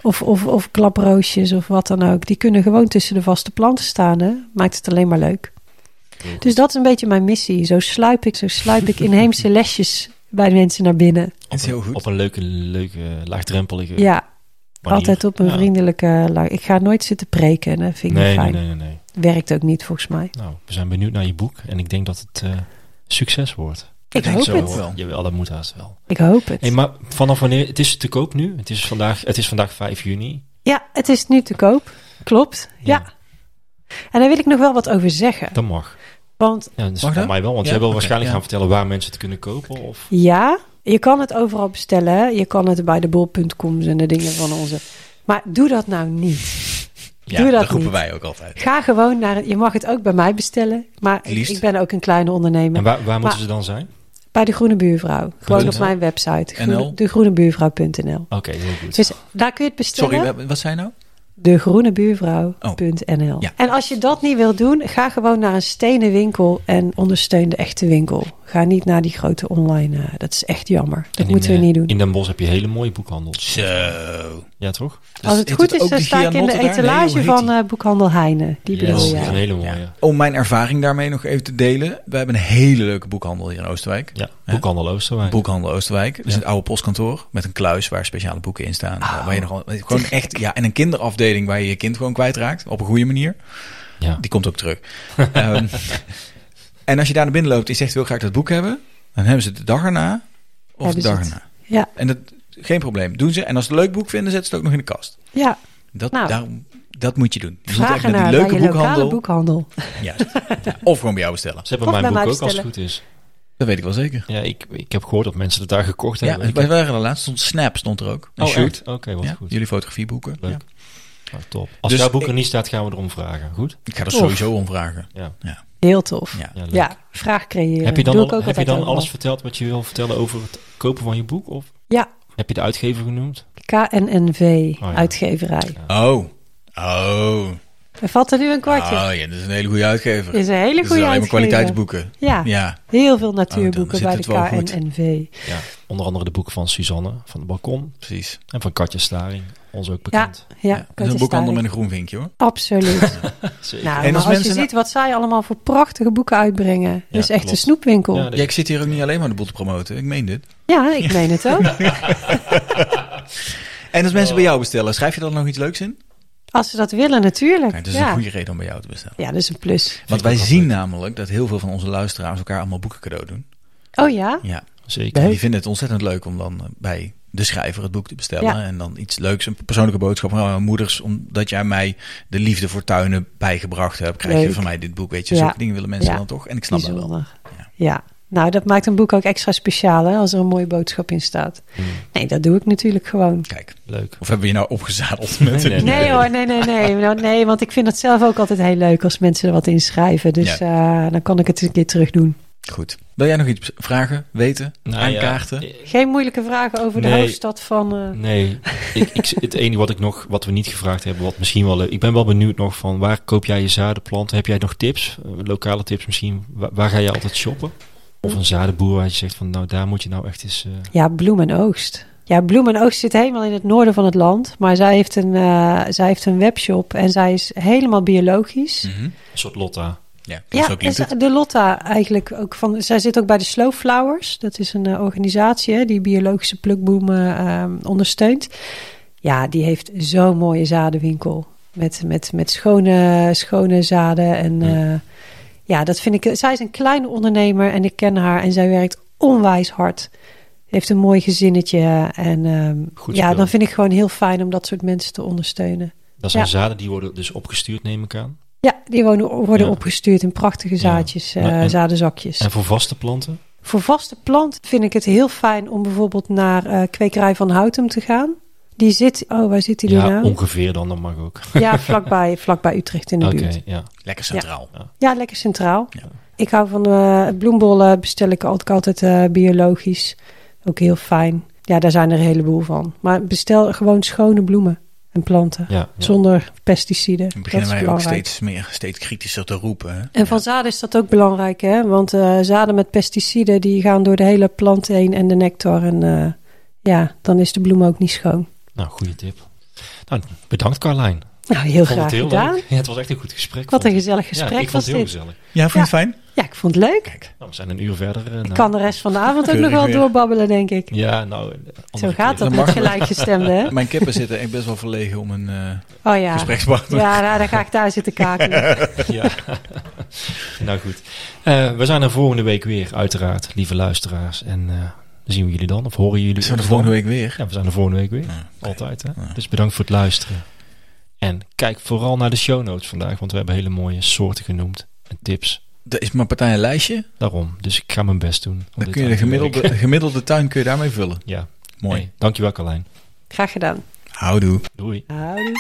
of, of, of klaproosjes of wat dan ook. Die kunnen gewoon tussen de vaste planten staan. Hè? Maakt het alleen maar leuk. Dus dat is een beetje mijn missie. Zo sluip ik, zo sluip ik inheemse lesjes bij de mensen naar binnen.
Het is heel goed.
Op een leuke, leuke laagdrempelige
Ja,
manier.
altijd op een
Ja.
vriendelijke... lui. Ik ga nooit zitten preken. en Dat vind ik
Nee,
niet
nee,
fijn.
nee, nee, nee.
Werkt ook niet volgens mij.
Nou, we zijn benieuwd naar je boek. En ik denk dat het eh, succes wordt.
Ik
denk
hoop
zo.
het.
wel.
Jawel, dat moet haast wel.
Ik hoop het.
Hey, maar vanaf wanneer? Het is te koop nu. Het is vandaag, het is vandaag 5 juni.
Ja, het is nu te koop. Klopt. Ja. En daar wil ik nog wel wat over zeggen.
Dat mag.
Want
Ja, dat is
Mag
voor
dat?
mij wel, want
Ja?
jij wil
Oké,
waarschijnlijk
ja.
gaan vertellen waar mensen het kunnen kopen. Of...
ja, je kan het overal bestellen. hè. Je kan het bij de bol.coms en de dingen van onze. Maar doe dat nou niet.
Ja,
Doe dat
roepen
niet.
wij ook altijd.
Ga gewoon naar... Je mag het ook bij mij bestellen. Maar ik,
Liefst.
ik ben ook een kleine
En
ondernemer.
waar, waar moeten
Maar-
ze dan zijn?
Bij de Groene Buurvrouw. Gewoon
Punt
op
NL.
mijn website.
NL.
Groene, degroenebuurvrouw.nl
Oké, heel goed.
Dus daar kun je het bestellen.
Sorry, wa- wat zei je nou?
degroenebuurvrouw.nl.
Ja.
En als je dat niet wilt doen, ga gewoon naar een stenen winkel en ondersteun de echte winkel. Ga niet naar die grote online. eh, dat is echt jammer. Dat
En in,
moeten
eh,
we niet doen.
In Den Bosch heb je hele mooie boekhandels.
Zo. Dus
Ja, toch?
als het
heet
goed is,
ook
dan
de
sta ik in de
Gianotte daar? Nee,
etalage
hoe heet
van
die?
eh, boekhandel Heine. Die
Yes,
bedoel
dat is een
je.
hele mooie.
Ja.
Ja,
Om mijn ervaring daarmee nog even te delen. We hebben een hele leuke boekhandel hier in Oosterwijk.
boekhandel Oosterwijk.
Boekhandel Oosterwijk. Dus een oude postkantoor met een kluis waar speciale boeken in staan. Waar je nog wel- gewoon echt, ja, en een kinderafdeling waar je je kind gewoon kwijtraakt. Op een goede manier.
ja.
Die komt ook terug. Ehm, en als je daar naar binnen loopt en je zegt wil graag dat boek hebben. Dan hebben ze het de dag erna of
Hebben
de
ze
dag
dus het.
erna.
Ja,
En dat, geen probleem. Doen ze. En als ze het leuk boek vinden, zetten ze het ook nog in de kast.
ja.
Dat,
Nou.
daarom, dat moet je doen. Dus Je moet echt
vraag
naar die
naar bij
leuke
je lokale
boekhandel.
boekhandel.
Juist. Ja. Of gewoon bij jou bestellen.
Ze hebben
Of bij
mijn
mij
boek ook als het
bestellen.
goed is.
Dat weet ik wel zeker.
Ja, ik, ik heb gehoord dat mensen het daar gekocht
Ja,
hebben.
wij
Ik heb-
waren er laatst. Stond Snap stond er ook. Een
Oh,
shoot.
echt? Oké, wat
Ja,
goed.
Jullie fotografieboeken.
Leuk.
Ja.
Nou, top. Als
Dus
jouw boek er
ik-
niet staat, gaan we erom vragen. Goed?
Ik ga er
Tof.
sowieso om vragen.
Heel tof.
Ja.
Ja, leuk.
Ja, vraag creëren.
Heb je dan,
Doe
al-
ik ook
heb je
altijd
dan
overal.
alles verteld wat je wil vertellen over het kopen van je boek? Of
Ja,
heb je de uitgever genoemd?
KNNV,
ja.
uitgeverij.
Oh. Oh.
Er valt er nu een kwartje.
Oh ja, dat is een hele goede uitgever.
Is een hele
dat zijn
goede
alleen maar
uitgever.
kwaliteitsboeken.
Ja.
Ja.
Heel veel
Oh, dan
natuurboeken
zit
bij de
het wel goed.
KNNV.
Ja. Onder andere de boeken van Suzanne van de Balkon
Precies.
en van Katja Staring. Ons ook
Ja,
bekend.
ja,
Ja, dat
dat
is een
is
boekhandel met
duidelijk.
een groen vinkje hoor.
Absoluut.
Zeker.
nou,
En
maar
als
als,
mensen-
je ziet wat zij allemaal voor prachtige boeken uitbrengen. dat is echt
klopt.
een snoepwinkel.
Ja,
Ja,
dat-
Ja, ik zit hier ook niet alleen maar de boel te promoten. Ik meen dit.
ik meen het ook.
Oh.
En als mensen bij jou bestellen, schrijf je dan nog iets leuks in?
Als ze dat willen, natuurlijk.
Kijk, dat is
ja.
een goede reden om bij jou te bestellen.
ja, dat is een plus.
Want
ik
wij
ook wel
zien
leuk.
namelijk dat heel veel van onze luisteraars elkaar allemaal boeken cadeau doen.
Oh ja?
Ja.
Zeker.
En die vinden het ontzettend leuk om dan eh, bij de schrijver het boek te bestellen.
Ja.
En dan iets leuks, een persoonlijke boodschap van oh, moeders. Omdat jij mij de liefde voor tuinen bijgebracht hebt, krijg je
Leuk.
van mij dit boek. Weet je,
Ja.
zulke dingen willen mensen
Ja.
dan toch? En ik snap dat wel.
Bijzonder.
Ja.
Ja. Nou, dat maakt een boek ook extra speciaal, hè, als er een mooie boodschap in staat.
Hmm.
Nee, dat doe ik natuurlijk gewoon.
Kijk,
Leuk.
of hebben we je nou opgezadeld met
nee,
een-
Nee hoor, nee, nee, nee. Nou, nee, want ik vind het zelf ook altijd heel leuk als mensen er wat in schrijven. Dus eh, dan kan ik het een keer terug doen.
Goed. Wil jij nog iets vragen, weten,
Nou ja,
aankaarten?
eh,
Geen moeilijke vragen over de
Nee.
hoofdstad van... eh,
Nee, ik, ik, het enige wat ik nog, wat we niet gevraagd hebben, wat misschien wel leuk. Ik ben wel benieuwd nog van waar koop jij je zadenplanten? Heb jij nog tips, eh, lokale tips misschien? Waar, waar ga je altijd shoppen? Of een zadenboer waar je zegt van nou daar moet je nou echt eens. eh,
Ja, bloem en oogst. Ja, bloem en oogst zit helemaal in het noorden van het land. Maar zij heeft een, eh, zij heeft een webshop en zij is helemaal
Hm.
biologisch.
Mhm.
een soort Lotta.
Ja, dat is
Ja,
ook liefde.
en de Lotta eigenlijk ook van. Zij zit ook bij de Slow Flowers. Dat is een eh, organisatie hè, die biologische plukboemen ehm, ondersteunt. Ja, die heeft zo'n mooie zadenwinkel. Met, met, met schone, schone zaden. En eh, ja, dat vind ik. Zij is een kleine ondernemer en ik ken haar. En zij werkt onwijs hard. Heeft een mooi gezinnetje. En ehm,
Goed
ja,
spul.
dan vind ik gewoon heel fijn om dat soort mensen te ondersteunen.
Dat zijn
Ja.
zaden die worden dus opgestuurd neem ik aan.
Ja, die wonen, worden
Ja.
opgestuurd in prachtige zaadjes, eh,
Maar- en-
zadenzakjes.
En voor vaste planten?
Voor vaste plant vind ik het heel fijn om bijvoorbeeld naar eh, Kwekerij van Houtem te gaan. Die zit, oh, waar zit die nu
Ja,
nou?
ongeveer dan, dat mag ook.
Ja, vlakbij, vlakbij Utrecht in de
Oké,
buurt.
ja.
Lekker centraal.
Ja, lekker centraal.
Ja.
Ik hou van eh, bloembollen, bestel ik ook altijd eh, biologisch. Ook heel fijn. Ja, daar zijn er een heleboel van. Maar bestel gewoon schone bloemen en planten.
ja, ja.
Zonder pesticiden.
Dan
Dat is
beginnen wij ook
belangrijk.
steeds meer, steeds kritischer te roepen. hè?
En van zaden is dat ook belangrijk, hè? Want eh, zaden met pesticiden die gaan door de hele plant heen en de nectar. En eh, ja, dan is de bloem ook niet schoon.
Nou, goede tip. Nou, bedankt Carlijn.
Nou, heel
vond
graag
het heel
gedaan.
leuk. Ja, het was echt een goed
Wat
gesprek. vond
een
ik.
gezellig
ja,
gesprek
ik vond
was
het heel
dit.
gezellig.
Ja, vind je het fijn?
Ja, ik vond het leuk.
Kijk.
Nou, we zijn een uur verder. eh, nou.
Ik kan de rest van de avond ook nog wel
Keurig weer.
doorbabbelen, denk ik.
Ja, nou. eh,
Zo
andere
gaat
keer.
dat
Dan
met
mag-
gelijkgestemden, hè?
Mijn kippen zitten echt best wel verlegen om een eh,
Oh ja.
gesprekspartner.
Ja, nou, dan ga ik daar zitten kakelen.
Ja. nou goed. Eh, we zijn er volgende week weer, uiteraard, lieve luisteraars. En eh, zien we jullie dan, of horen jullie
Zijn we Dus
ons
de volgende
dan?
week weer?
Ja, we zijn er volgende week weer.
Ja, oké.
Altijd, hè?
Ja.
Dus bedankt voor het luisteren. En kijk vooral naar de show notes vandaag, want we hebben hele mooie soorten genoemd en tips.
Er is maar partij een lijstje.
Daarom. Dus ik ga mijn best doen. om
Dan
dit
kun je
aan
de
te werken.
gemiddelde, gemiddelde tuin kun je daarmee vullen.
Ja,
Mooi.
Hey, dankjewel, Carlijn.
Graag gedaan.
Houdoe.
Doei.
Houdoe.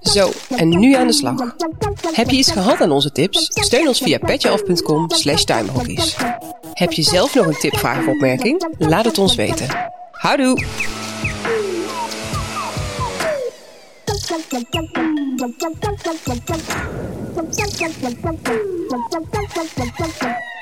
Zo, en nu aan de slag. Heb je iets gehad aan onze tips? Steun ons via petjeaf.com slash tuinbroekies. Heb je zelf nog een tip, vraag of opmerking? Laat het ons weten. Houdoe!
Thank you.